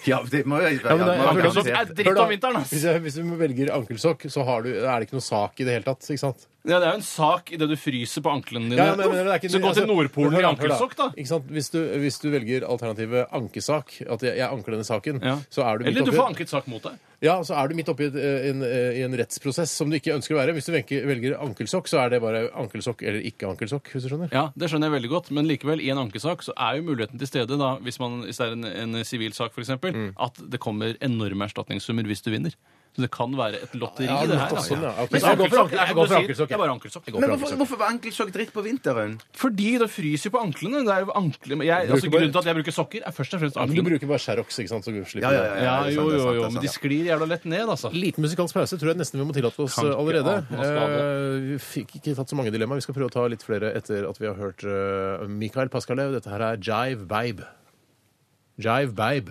Ja, det må jo Ja, men det- ja, Hør da. Ankelsokk er dritt Hør da. om vinteren, ass! Hvis, jeg, hvis du velger ankelsokk, så har du, er det ikke noe sak i det hele tatt. ikke sant? Ja, det er jo en sak idet du fryser på anklene dine. Ja, men jeg mener, det er ikke- så gå til altså, Nordpolen hør i da, hør ankelsokk, da. Ikke sant? Hvis, du, hvis du velger alternativet ankesak, at jeg, jeg anker denne saken, Ja. så er du midt Eller du oppi- får anket sak mot deg. Ja, så er du midt oppi et, eh, en, eh, i en rettsprosess som du ikke ønsker å være. Hvis du venke- velger ankelsokk, så er det bare ankelsokk eller ikke ankelsokk. hvis du skjønner. Ja, Det skjønner jeg veldig godt, men likevel, i en ankesak så er jo muligheten til stede, da, hvis, man, hvis det er en, en sivil sak f.eks., eksempel, Mm. at det kommer enorme erstatningssummer hvis du vinner. Så det kan være et lotteri, Ja, det her. nettopp, Altså. sånn, ja. Ok, Men så jeg går for ankelsokk- ankel- nei, jeg går for du sier- ankelsokk, ja. Jeg bare ankelsokk. Jeg går Men for hvorfor, ankelsokk. hvorfor var ankelsokk dritt på vinteren? Fordi det fryser på anklene. Det er jo ankle, men jeg, altså, bruker bare- grunnen til at jeg bruker sokker, er først og fremst Men du anklene. bruker bare Sherrox, ikke sant? så du slipper Ja, ja, ja, det. det er Ja, jo, sant, det er jo, sant, det jo, er men sant, de ja. sklir jævla lett ned, altså. Liten musikalsk pause tror jeg nesten vi må tillate oss eh, Kan ikke allerede. ane oss lave. Eh, Vi fikk ikke tatt så mange dilemmaer. Vi skal prøve å ta litt flere etter at vi har hørt eh, Mikael Paskalev. Dette her er Jive Babe. Jive Babe.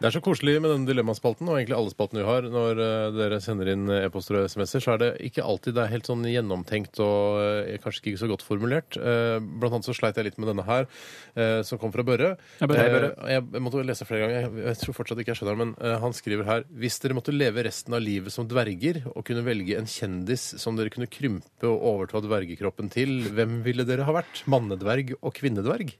Det er så koselig med denne dilemmaspalten og egentlig alle spaltene vi har. Når eh, dere sender inn eh, e-poster og SMS-er, så er det ikke alltid det er helt sånn gjennomtenkt og eh, kanskje ikke så godt formulert. Eh, Blant annet så sleit jeg litt med denne her, eh, som kom fra Børre. Ja, Børre. Eh, Jeg, jeg måtte lese flere ganger. Jeg, jeg tror fortsatt ikke jeg skjønner den, men eh, han skriver her Hvis dere måtte leve resten av livet som dverger og kunne velge en kjendis som dere kunne krympe og overta dvergekroppen til, hvem ville dere ha vært? Mannedverg og kvinnedverg?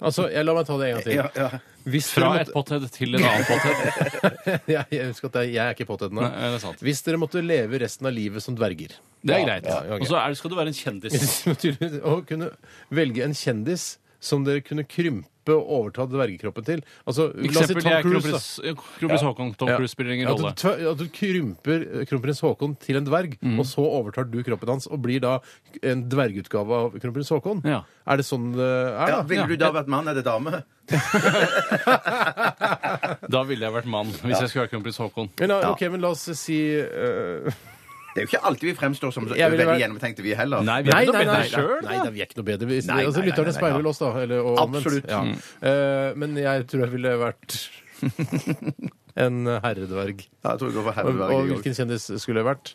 Altså, jeg La meg ta det en gang til. Ja, ja. Hvis dere Fra måtte- et pothead til en annen pothead. jeg, jeg husker at jeg, jeg er ikke påtatt nå. Nei, det er sant. Hvis dere måtte leve resten av livet som dverger Det er greit. Ja, ja, ok. Og så er det- skal du være en kjendis. Tydeligvis, Å kunne velge en kjendis som dere kunne krympe og overta dvergekroppen til Altså, la oss si Eksempel Tom jeg er Cruise, da. kronprins kronprins Haakon. Tom Ja. Cruise spiller ingen Ja, altså, at du rolle. tv- At du krymper eh, kronprins Haakon til en dverg, Mm. og så overtar du kroppen hans og blir da en dvergutgave av kronprins Haakon. Ja. Er det sånn det er, da? Ja, Ville du da vært mann eller dame? Da ville jeg vært mann hvis jeg skulle være kronprins Haakon. Men, la- ok, men la oss si eh, Det er jo ikke alltid vi fremstår som så Jeg ville veldig vært- gjennomtenkte, vi heller. Nei, vi Nei, nei, er ikke nei, noe bedre nei, sjøl, nei, da. nei, vi er ikke noe bedre. Hvis, Nei, nei, altså, nei, lytterne nei, nei, speiler ja. vel oss, da. Eller, og omvendt. Absolutt. Ja. Eh, men jeg tror jeg ville vært en herredverg. Ja, jeg tror jeg går for Og, og Herberg. jeg også. hvilken kjendis skulle jeg vært?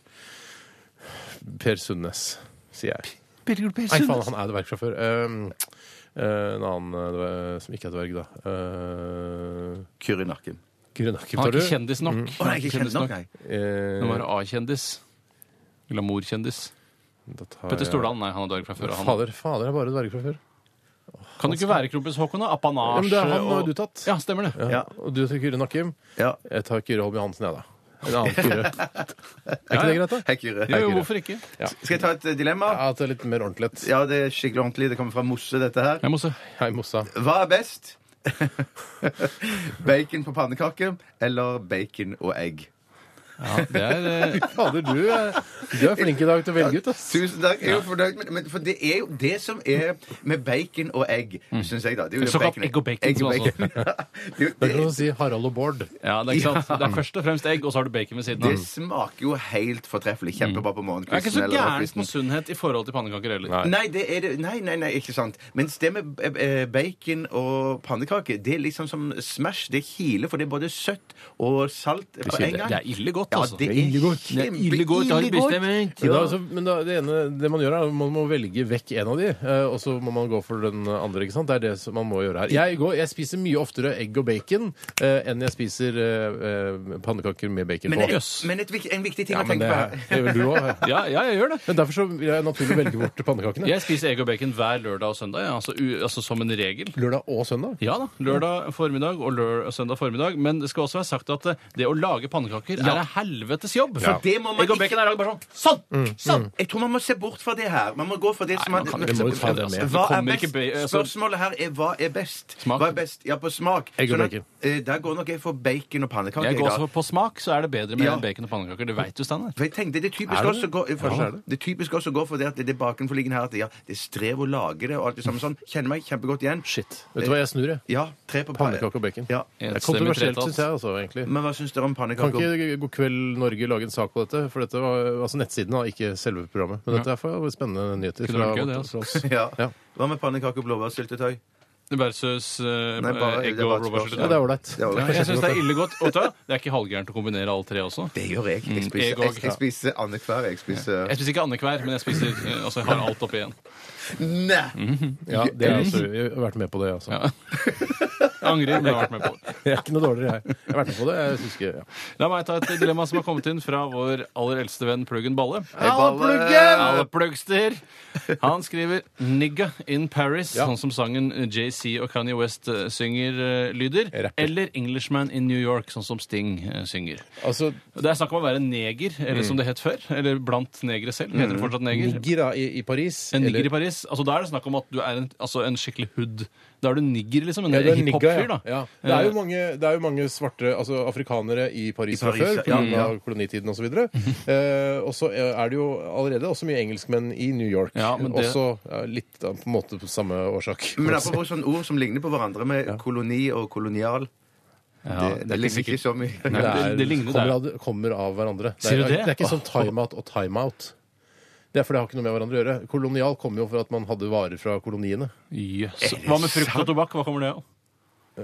Per Sundnes, sier jeg. Nei, faen, han er dverg fra før. Um, eh, en annen eh, dverg- som ikke er dverg, da. Uh, Kyrre i nakken. Grønnakke, Han tar er du? ikke kjendis nok. Å, nei, ikke kjent nok, nei. Eh, Han var A-kjendis. Glamour-kjendis. da tar Petter jeg- Stordalen, nei, han er dverg fra før. Han. Fader, fader er bare dverg fra før. Kan du ikke være kronprins Haakon, da? Ja, men Apanasje det er han har og du tatt. Ja, stemmer det. Ja. Og du tar Kyrre Nakkim. Ja. Jeg tar Kyrre Holm Johansen, jeg, da. En annen Kyrre. Er ikke det greit, da? Hei, Kyrre. Jo, jo, hvorfor ikke? Skal jeg ta et eh, dilemma? Ja, at det er litt mer ordentlig. Ja, det er skikkelig ordentlig. Det kommer fra Mosse, dette her. Jeg må se. Hei, Mossa. Hva er best? bacon på pannekake eller bacon og egg? Ja, det er eh, Fader, du, er- du er flink i dag til å velge ut, ass. Tusen takk. Jeg er jo fornøyd med men, For det er jo det som er med bacon og egg, syns jeg, da. Det er jo Såkalt bacon- egg og bacon, altså. Egg og som bacon. det, er jo- Det er som å det, si Harald og Bård. Ja, det er ikke sant. Det er først og fremst egg, og så har du bacon ved siden det av. smaker jo helt Mm. fortreffelig. Kjempebra på Det er ikke morgenkvisten. så eller gærent morgenkvisten. på sunnhet i forhold til pannekaker heller. Nei, det er det. Nei, nei, nei, ikke sant. Mens det med eh, eh, bacon og pannekake, det er liksom som Smash. Det kiler, for det er både søtt og salt på en gang. Det er ille godt, Ja, altså. det er ille godt. kjempe- Det er ille godt, har du ille godt. bestemt. Men, da, altså, men da, det ene det man gjør, er at man må velge vekk en av de, eh, og så må man gå for den andre. ikke sant? Det er det som man må gjøre her. Jeg, går, jeg spiser mye oftere egg og bacon eh, enn jeg spiser eh, eh, pannekaker med bacon Men, på. Jøss. men et, vik- en viktig ting Ja, å men det, tenke på det her gjør du òg. Ja, ja, jeg gjør det. Men derfor så vil jeg naturlig velge bort pannekakene. Jeg spiser egg og bacon hver lørdag og søndag, ja, altså, u, altså som en regel. Lørdag og søndag. Ja da, lørdag formiddag og lør søndag formiddag. Men det skal også være sagt at eh, det å lage pannekaker er en helvetes jobb. For det må man Egg og ikke- bacon er lagd bare sånn. Sånn! Mm. sånn. Jeg tror man må se bort fra det her. Man må gå for det som man man- kan ikke se bort fra det, altså. Det Hva er kommer ikke best? be- altså- Spørsmålet her er hva er best? Smaken. Hva er best? Ja, på smak. Egg og Sånn at, bacon. eh, Der går nok jeg for bacon og pannekaker. Jeg jeg, går da. også på smak, så er det bedre med Ja. bacon og pannekaker. Det veit du, Steinar. For jeg tenkte Det er typisk Er det også det? å gå- for- Kanskje er det. det er typisk også å gå for det at det er bakenforliggende her at ja, det er strev å lage det og alt det samme sånn. Kjenner meg kjempegodt igjen. Shit. Vet du hva jeg snur, jeg? Ja, tre på Pannekake og bacon. Ja. Mm. Det er Enstemmig kontroversielt, tretall. syns jeg, altså, egentlig. Men hva syns dere om pannekaker? Kan ikke God kveld Norge lage en sak på dette? For dette var altså nettsiden, da, ikke selve programmet. Men dette er for spennende nyheter. Kunne vært gøy, vårt- det, altså. fra oss. Ja. Ja. Hva med pannekaker og blåbærsyltetøy? Versus eh, Nei, bare- egg det var og et spørsmål. Ja, blåbærsyltetøy. det er ålreit. Det var- Ja, jeg syns det er ille godt. Og vet du hva? det er ikke halvgærent å kombinere alle tre også. Det gjør jeg. Mm, Jeg spiser, jeg jeg, også, jeg spiser annethver. Jeg spiser Jeg spiser ikke annenhver, men jeg spiser eh, altså jeg har alt oppi igjen. Nei! Mm. Ja, det er altså, jeg har vært med på det, altså. Jeg angrer, men jeg har vært med på det. Jeg er ikke noe dårligere, jeg. Jeg har vært med på det. jeg synes ikke, ja. La meg ta et dilemma som har kommet inn fra vår aller eldste venn Pluggen Balle. Alle Pluggen! plugster! Han skriver 'Nigga in Paris', Ja. sånn som sangen JC og Kanye West eh, synger, eh, lyder. Rapper. Eller 'Englishman in New York', sånn som Sting eh, synger. Altså, Det er snakk om å være neger, eller som det het før. Eller blant negere selv. Heter det fortsatt neger? Mm. nigger da, i, i Paris En nigger eller- i Paris. Altså, da er det snakk om at du er en, altså, en skikkelig hood. Da er du nigger, liksom. En Ja, du er nigga, hiphop-fyr, ja. da. Eh, Ja. Det, er jo mange, det er jo mange svarte altså afrikanere i Paris I fra Paris, før, ja, pga. Ja, kolonitiden osv. Og så eh, er det jo allerede også mye engelskmenn i New York. Ja, men det- Også ja, litt av- på en måte på samme årsak. Men apropos sånne ord som ligner på hverandre med koloni og kolonial. Ja, det, det ligner ikke så mye. Nei, det, det ligner kommer, det. av, kommer av hverandre. Det Sier er, du det? det er ikke sånn timeout og timeout. Det er for det har ikke noe med hverandre å gjøre. Kolonial kommer jo for at man hadde varer fra koloniene. Jøss. Hva med frukt og tobakk? Hva kommer det av? Eh,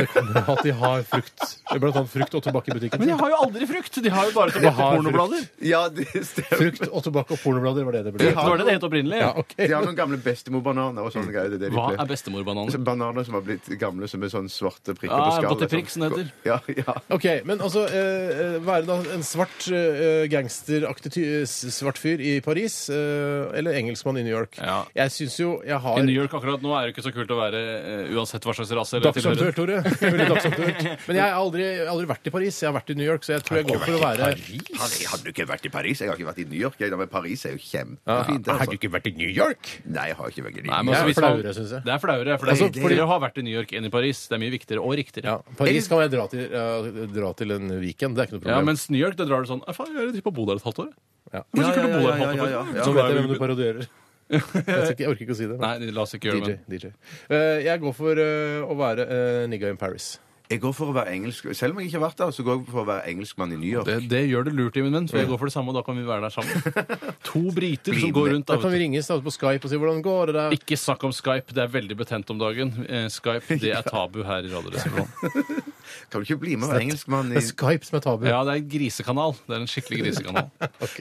det kommer av at de har frukt. Blant annet frukt og tobakk i butikken. Men de har jo aldri frukt! De har jo bare De tobakk og har pornoblader. frukt. Ja, det stemmer. Frukt og tobakk og pornoblader var det det ble. Det var det det het opprinnelig. Ja, ok. De har noen gamle bestemor-bananer og sånne greier. Det er det de Hva pleier. er bestemorbanan? Så Bananer som har blitt gamle, som er sånn svarte prikker Ja, på skallet. sånn. butterprick, som det heter. Ja, ja. Ok, men altså eh, eh, Være da en svart eh, gangsteraktig ty- eh, s- svart fyr i Paris, eh, eller engelskmann i New York. Ja. Jeg syns jo jeg har I New York akkurat nå er det ikke så kult å være eh, uansett hva slags rase. eller Dagsaktuelt, tilhørighet. Tore. Jeg ville dagsaktuelt. Men jeg har aldri, aldri vært i Paris. Jeg har vært i New York, så jeg tror jeg går for å være Paris? Har du ikke vært i Paris? Jeg har ikke vært i New York. Jeg, da, men Paris er jo Ja, kjempefint. Har Altså. du ikke vært i New York? Nei, jeg har ikke vært i New Nei, York. Det men altså, er hvis man- flauere, synes jeg. Det er flauere, for det er Altså, fordi- hyggeligere å ha vært i New York enn i Paris. Det er mye viktigere og riktigere. Ja, Paris kan jeg dra til, eh, dra til en weekend. Det er ikke noe Ja, problem. mens New York, da drar du sånn «Ah, Faen, jeg tippa bo der et halvt år. Ja. Men Ja, så kunne ja, du bo der ja, et halvt ja, år. ja, ja. Så Så da vet jeg er vi- hvem du parodierer. Jeg, skal ikke, jeg orker ikke å si det. men- Nei, la oss ikke gjøre DJ. det. DJ. Eh, jeg går for eh, å være eh, nigga in Paris. Jeg går for å være engelsk. Selv om jeg ikke har vært der, så går jeg for å være engelskmann i New York. Det, det gjør det lurt, Imen, for jeg går for det samme, og da kan vi være der sammen. To briter som går rundt. Da Da, kan vi vet du. ringes da på Skype og si hvordan går det der. Ikke snakk om Skype, det er veldig betent om dagen. Eh, Skype det er tabu her i Radioresepsjonen. Kan du ikke bli med og være engelskmann i Det er Skype som er tabu. Ja, det er en grisekanal. Det er en skikkelig grisekanal.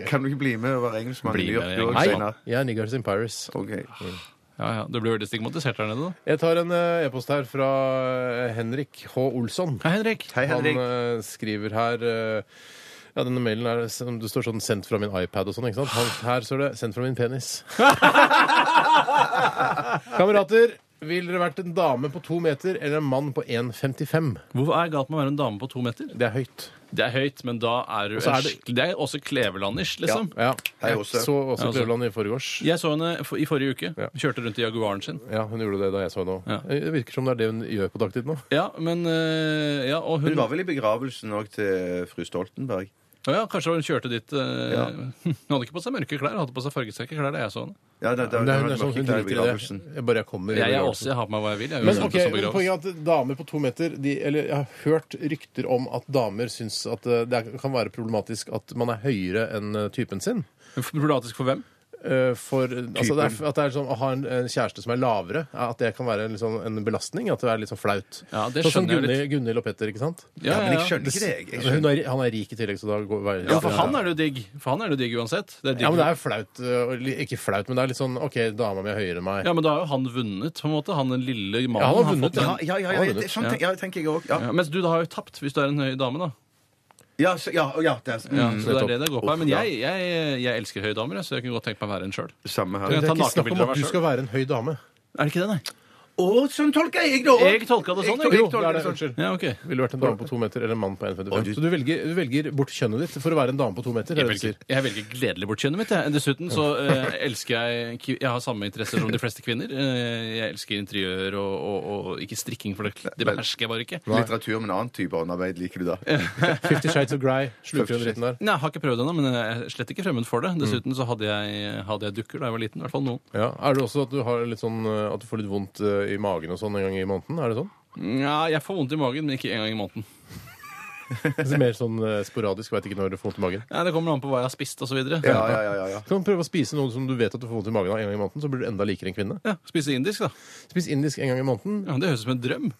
Kan du ikke bli med og være engelskmann Bli i New York? med, du også, Nei. Steinar? Jeg er niggers in Paris. Ok. Ja, ja. Du blir veldig stigmatisert der nede, da. Jeg tar en eh, e-post her fra eh, Henrik H. Olsson. Hei, Henrik. Hei, Henrik. Han eh, skriver her eh, ja, Denne mailen er som det står sånn 'sendt fra min iPad' og sånn. ikke sant? Han, her står det 'sendt fra min penis'. Kamerater, ville dere vært en dame på to meter eller en mann på 1,55? Hvorfor er det galt med å være en dame på to meter? Det er høyt. Det er høyt, men da er du så er en det- skikkelig- Det er også klevelandish, liksom. Ja. Hei, Jeg Åse. så også Åse. Kløvland i forgårs. Jeg så henne for- i forrige uke. Ja. Kjørte rundt i Jaguaren sin. Ja, hun gjorde det da jeg så henne Ja. òg. Det virker som det er det hun gjør på dagtid nå. Ja, men eh, Ja, og Hun hun, var vel i begravelsen òg til fru Stoltenberg. Å ja, Kanskje hun kjørte dit eh, Ja. Hun hadde ikke på seg mørke klær, hun hadde på seg fargesterke klær da jeg så henne. Ja, da, da, Men det er, da, hun er var sånn, ikke hun der i driter i det. begravelsen. Jeg bare jeg kommer. i Jeg, jeg, begravelsen. også, jeg har på meg hva jeg vil. Jeg, er Men uansett ok, som begraves. poenget er at damer på to meter de, Eller jeg har hørt rykter om at damer syns at eh, det er- kan være problematisk at man er høyere enn eh, typen sin. Problematisk for hvem? Eh, For eh, altså, det er, f- at det er sånn, å ha en, en kjæreste som er lavere, eh, at det kan være en, liksom, en belastning. At det er litt sånn flaut. Ja, det sånn som skjønner jeg Gunhild Gunhild og Petter, ikke sant? Altså, Ja, Men jeg ja, ja. skjønner ikke det, jeg. jeg Hun skjønner. er, han er rik i tillegg, så da går veier ja, for han er det jo digg. For han er det jo digg uansett. Det er digg. Ja, men det er jo flaut. eh, og li- Ikke flaut, men det er litt sånn OK, dama mi er høyere enn meg. Ja, men da har jo han vunnet, på en måte. Han den lille Ja, mannen. han har har vunnet, fått Ja, den. ja, ja, Har ja, du det? det, sånn tenk- ja, tenker jeg òg. Ja. Ja, mens du da har jo tapt, hvis du er en høy dame, da. Ja, så- ja, ja, det er, Ja, mm, så det er nettopp. det det går på. her. Men jeg, jeg, jeg elsker høye damer, jeg, så jeg kunne godt tenkt meg å være en sjøl. samme Ja, her. det- Det er ta ikke snakk om nakenbilder av at meg du skal være en høy dame. Er det ikke det, nei? Å, sånn tolker jeg det òg! Jeg tolka det sånn, jeg. Jo, det er det. Unnskyld. Ja, ok. Ville du vært en dame på to meter eller en mann på 1,55? Å, du- Så du velger, du velger bort kjønnet ditt for å være en dame på to meter? er det Jeg du velger, sier? jeg velger gledelig bort kjønnet mitt. Jeg. Dessuten så eh, elsker jeg ki- Jeg har samme interesser som de fleste kvinner. Eh, jeg elsker interiør og, og, og ikke strikking, for det, det behersker jeg bare ikke. Litteratur med en annen type håndarbeid liker du da. Fifty Shades of Grey. Sluker den dritten der. Nei, Jeg har ikke prøvd ennå, men jeg er slett ikke fremmed for det. Mm. Dessuten så hadde jeg, hadde jeg dukker da jeg var liten. I hvert fall noen. Ja. Er det også at du, har litt sånn, eh, at du får litt vondt eh, i magen og sånn en gang i måneden? Er det sånn? Ja, jeg får vondt i magen, men ikke en gang i måneden. Så Mer sånn eh, sporadisk, veit ikke når du får vondt i magen. Nei, det kommer an på hva jeg har spist osv. Ja, Ja. ja, ja, ja, ja. Kan du prøve å spise noe som du vet at du får vondt i magen av en gang i måneden, så blir du enda likere en kvinne. Ja, spise indisk, da. Spis indisk en gang i måneden. Ja, det høres ut som en drøm.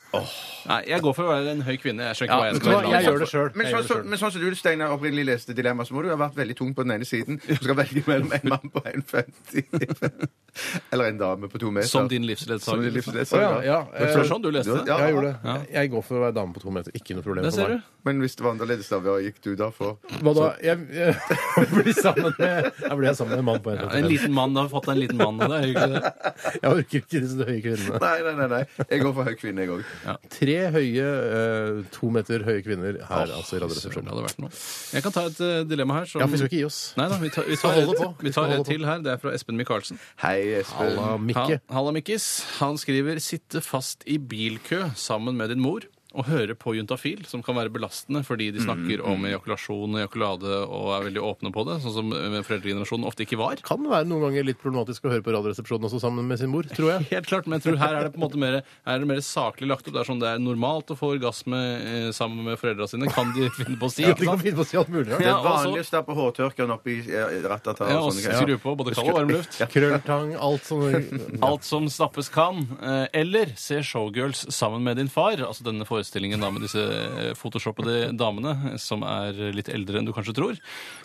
Nei, jeg går for å være en høy kvinne. Jeg skjønner ikke Ja, hva jeg vet skal du hva, være. jeg gjør det sjøl. Men sånn som men sånn som du, Steinar, opprinnelig leste dilemma, så må du ha vært veldig tung på den ene siden. Du skal velge mellom en mann på 1,50 eller en dame på to meter. Som Som din din livsledsager. livsledsager. Å, ja, ja. eh, Det var sånn du leste det. Ja. Jeg gjorde det. Jeg går for å være dame på to meter. Ikke noe problem Det for ser meg. du. Men hvis det var annerledes, da, hva gikk du da for? Hva da? Jeg, jeg blir sammen med Jeg blir sammen med en mann på Ja, en 1,55. liten mann har fått deg en liten mann. og Det er hyggelig, det. Jeg orker ikke disse høye kvinnene. Nei, nei, nei. nei. Jeg går for høy kvinne, jeg òg. Tre høye, eh, to meter høye kvinner her, altså i Radioresepsjonen. Det hadde vært noe. Jeg kan ta et eh, dilemma her. Som... Ja, for vi skal ikke gi oss. Nei da, vi tar, vi tar, Vi skal holde et, på. vi Vi skal holde tar et på. til her. Det er fra Espen Michaelsen. Hei, Espen. Halla, Mikke. Ha- Halla, Mikkis. Han skriver 'sitte fast i bilkø sammen med din mor'. Og høre på Juntafil, som kan være belastende fordi de snakker om ejakulasjon og ejakulade og er veldig åpne på det, sånn som eh, foreldregenerasjonen ofte ikke var. Kan være noen ganger litt problematisk å høre på Radioresepsjonen også sammen med sin mor, tror jeg. Helt klart, men jeg tror her er det på en måte mer, her er det mer saklig lagt opp. Det er sånn det er normalt å få orgasme eh, sammen med foreldra sine. Kan de finne på å si? Ja, ikke de kan sant? finne på å si alt mulig rart. Ja, Det og så- vanlige stappe hårtørkeren oppi rattata eh, Ja, og og sånne skru greier. på både kald og varm luft. Krølltang, alt sånn Alt som stappes kan. Eh, Eller se Showgirls sammen med din far. Altså denne forestillingen da med disse eh, photoshoppede damene eh, som er litt eldre enn du kanskje tror.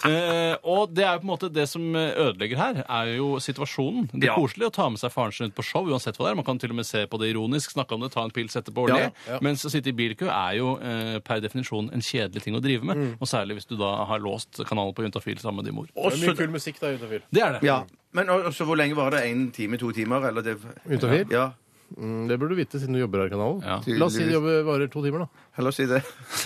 Eh, Og det er jo på en måte det som eh, ødelegger her, er jo situasjonen. Det Ja. er koselig å ta med seg faren sin ut på show uansett hva det er. Man kan til og med se på det ironisk, snakke om det, ta en pils etterpå og le. Ja, Mens å sitte i bilkø er jo eh, per definisjon en kjedelig ting å drive med. Mm. Og særlig hvis du da har låst kanalen på Juntafil sammen med din mor. Det er mye kul musikk da, Juntafil. Det er det. Ja. Men og- og så hvor lenge var det? En time, to timer? Eller det Juntafil? Ja. Mm, Det burde du vite siden du jobber her i kanalen. Ja. La oss si det jobber varer to timer, da. Heller si det.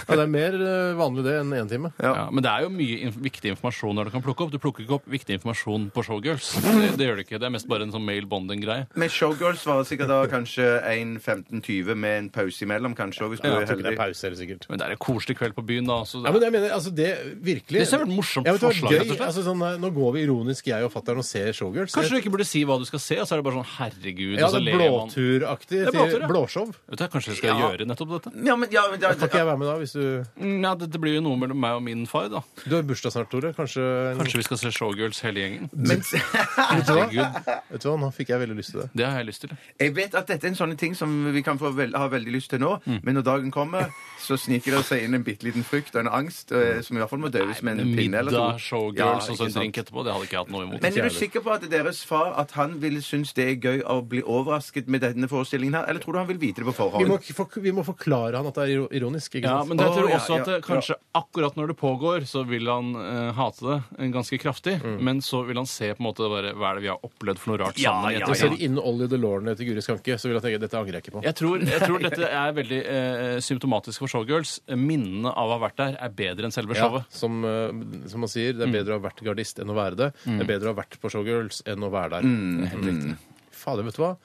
Ja, det er mer eh, vanlig det enn én time. Ja, men det er jo mye inf viktig informasjon der du kan plukke opp. Du plukker ikke opp viktig informasjon på Showgirls. Det, det gjør du ikke. Det er mest bare en sånn male bonding-greie. Men showgirls var sikkert da kanskje 1.15-20 med en pause imellom, kanskje, og hvis du Ja, er jeg tror ikke det heldig. er pause, heller, sikkert. Men det er en koselig kveld på byen, da. Så Ja, men jeg mener, altså det virkelig Det ser ut som et morsomt Jeg vet hva, forslag, rett og Gøy, slett. altså, sånn, eh, nå går vi ironisk, jeg og fatter'n, og ser Showgirls. Kanskje du ikke burde si hva du skal se, og så er det bare sånn herregud, ja, og så det ler er man. blåturaktig. er blåtur, til ja. Blåshow. Vet du, Kanskje jeg skal gjøre nettopp dette? Ja, men, ja, men da, Kan ikke jeg være med da? hvis Du Mm, Ja, Dette blir jo noe mellom meg og min far, da. Du har bursdag snart, Tore. Kanskje, Kanskje vi skal se Showgirls hele gjengen? Vet du hva? Herregud, Vet du hva, Nå fikk jeg veldig lyst til det. det har jeg lyst til. Jeg vet at dette er en sånn ting som vi kan få vel, ha veldig lyst til nå, men når dagen kommer, så sniker det seg inn en bitte liten frykt og en angst eh, som i hvert fall må døves med en pinne eller to. Middag, Showgirls Ja, og så ikke en sant. drink etterpå, det hadde ikke jeg hatt noe imot. Men er du sikker på at deres far at han vil synes det er gøy å bli overrasket med denne forestillingen her, eller tror du han vil vite det på Vi må, forhånd? for- vi må forklare han at det er iro- ironisk. Ikke Ja, sant? men jeg tror Å, ja, også at ja, det, kanskje akkurat når det pågår, så vil han eh, hate det eh, ganske kraftig. Men så vil han se på en måte bare, hva er det vi har opplevd for noe rart sammen. i Og ettertid. ser de innen Ollie Delorne til Guri Skanke, så vil jeg tenke dette angrer jeg ikke på. Jeg tror, jeg tror dette er veldig eh, symptomatisk for showgirls. Minnene av å ha vært der er bedre enn selve Ja, showet. Mm. som, eh, som man sier, det er bedre å ha vært gardist enn å være det. Det er bedre å ha vært på Showgirls enn å være der. Mm, Mm. Fader, vet du hva?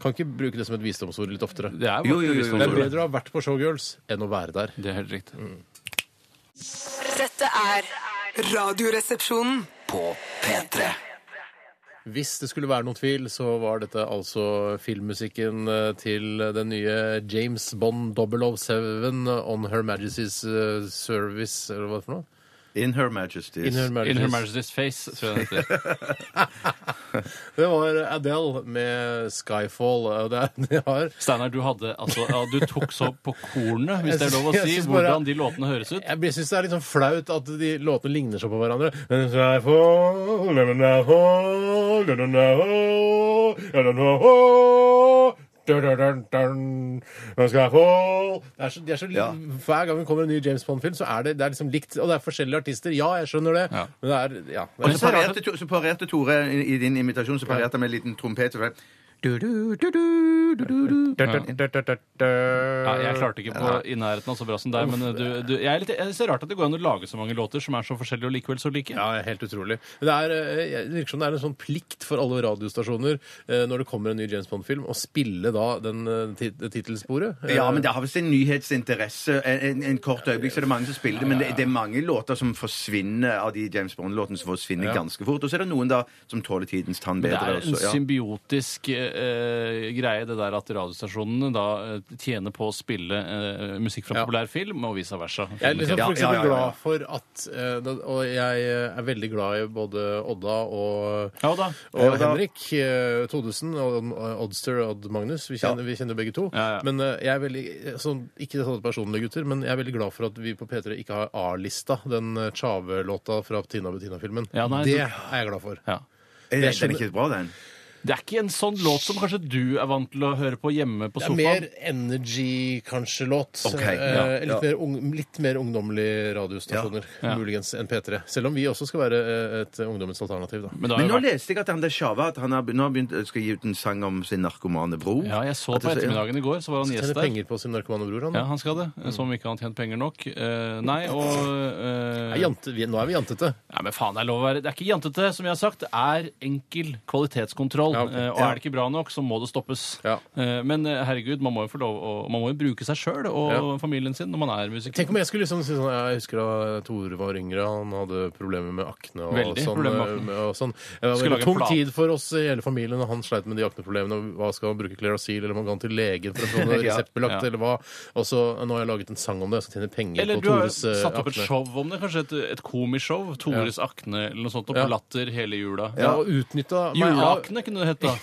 Kan ikke bruke det som et visdomsord litt oftere. Det er, Jo, jo, jo, faktisk jo, Det er noe som er bedre. bedre å ha vært på Showgirls enn å være der. Det er helt riktig. Dette er Radioresepsjonen. På P3 Hvis det skulle være noen tvil, så var dette altså filmmusikken eh, til den nye James Bond 007 On Her Majesty's eh, Service, eller hva er det for noe? In Her Majesties. In Her In Her Majesty's. Majesty's Face, tror jeg det heter. Det var Adele med Skyfall. og Det, er, det har Steinar, du hadde altså ja, Du tok så på kornet, hvis det er lov å Jeg si, synes bare- hvordan de låtene høres ut. Jeg syns det er litt sånn flaut at de låtene ligner så på hverandre. Det er så, de er så, li- Ja. Hver gang det kommer en ny James Bond-film, så er det, det er liksom likt. Og det er forskjellige artister. Ja, jeg skjønner det. Ja. Men det er, ja, det Men er Så parerte, To- så parerte Tore i, i din invitasjon så parerte han med en liten trompet. og så ble- Du, du, du, du, du, du, du. Ja, Eh, jeg klarte ikke på i nærheten av så bra som deg, men eh, du, du jeg er litt, jeg ser rart at det går an å lage så mange låter som er så forskjellige og likevel så like. Ja, helt utrolig. Men Det, er, eh, det virker som det er en sånn plikt for alle radiostasjoner eh, når det kommer en ny James Bond-film, å spille da den eh, tit- tittelsporet. Eh, Ja, men det har visst en nyhetsinteresse. En, en, en kort øyeblikk så er det mange som spiller det, men det, det er mange låter som forsvinner av de James Bond-låtene som forsvinner ganske fort. Og så er det noen da som tåler tidens tann Det bedre. er en også, ja. symbiotisk eh, eh, greie, det der at radiostasjonene da eh, tjener på å spille eh, musikk fra Ja. populær film, og vice versa. Jeg er liksom Ja, for eksempel ja, ja, ja. glad for at eh, da- Og jeg eh, er veldig glad i både Odda og, Ja da. og da. Henrik eh, Todesen og og Oddster og Odd Magnus. Vi kjenner, vi kjenner begge to. Ja, ja. Men eh, jeg er veldig sånn, Ikke sånn personlig, gutter, men jeg er veldig glad for at vi på P3 ikke har A-lista, den eh, Tjave-låta fra Tina Bettina-filmen. Ja, nei, det du- er jeg glad for. Ja. Jeg Er det- Eh, Den er skjønner- ikke bra, den. Det er ikke en sånn låt som kanskje du er vant til å høre på hjemme på Det er sofaen. mer energy, kanskje, låt. Ok, ja, Eh, litt, ja. mer ung, litt mer ungdommelige radiostasjoner, muligens, enn P3. Selv om vi også skal være eh, et ungdommens alternativ, da. Men det har Men jo nå vært- leste jeg at han der Shava at han har, nå har begynt, eh, skal gi ut en sang om sin narkomane bror. Ja, jeg så At på det- ettermiddagen i går, så var han gjest Tjener der. penger på sin narkomane bror, han. Ja, da. han skal det. Mm. Som om ikke han har tjent penger nok. Eh, nei, og eh, Nei, jante, vi, nå er vi jantete. Nei, men faen, det er lov å være Det er ikke jantete, som jeg har sagt. Det er enkel kvalitetskontroll. Ja, ok. Eh, Og er det ikke bra nok, så må det stoppes. Ja. Eh, Men eh, herregud, man må jo få lov å Man må jo bruke seg sjøl og Ja. familien sin når man er musiker. Tenk om jeg skulle liksom si sånn Jeg husker da Tore var yngre, han hadde problemer med akne og Veldig sånn. problemer eh, med akne. Og sånn. Det var Skulle lage veldig en tung plan. tid for oss i hele familien, og han sleit med de akneproblemene. og Hva skal man bruke Klerasil, eller man kan til legen for å få det Ja, reseptbelagt, ja. eller hva. Og så nå har jeg laget en sang om det, jeg skal tjene penger Eller på du har Tores jo eh, satt opp et akne. show om det, kanskje et, et komishow. Tores akne eller noe sånt, og Ja. latter hele jula. Ja, og utnytta meg av- Juleakne kunne det hett, da.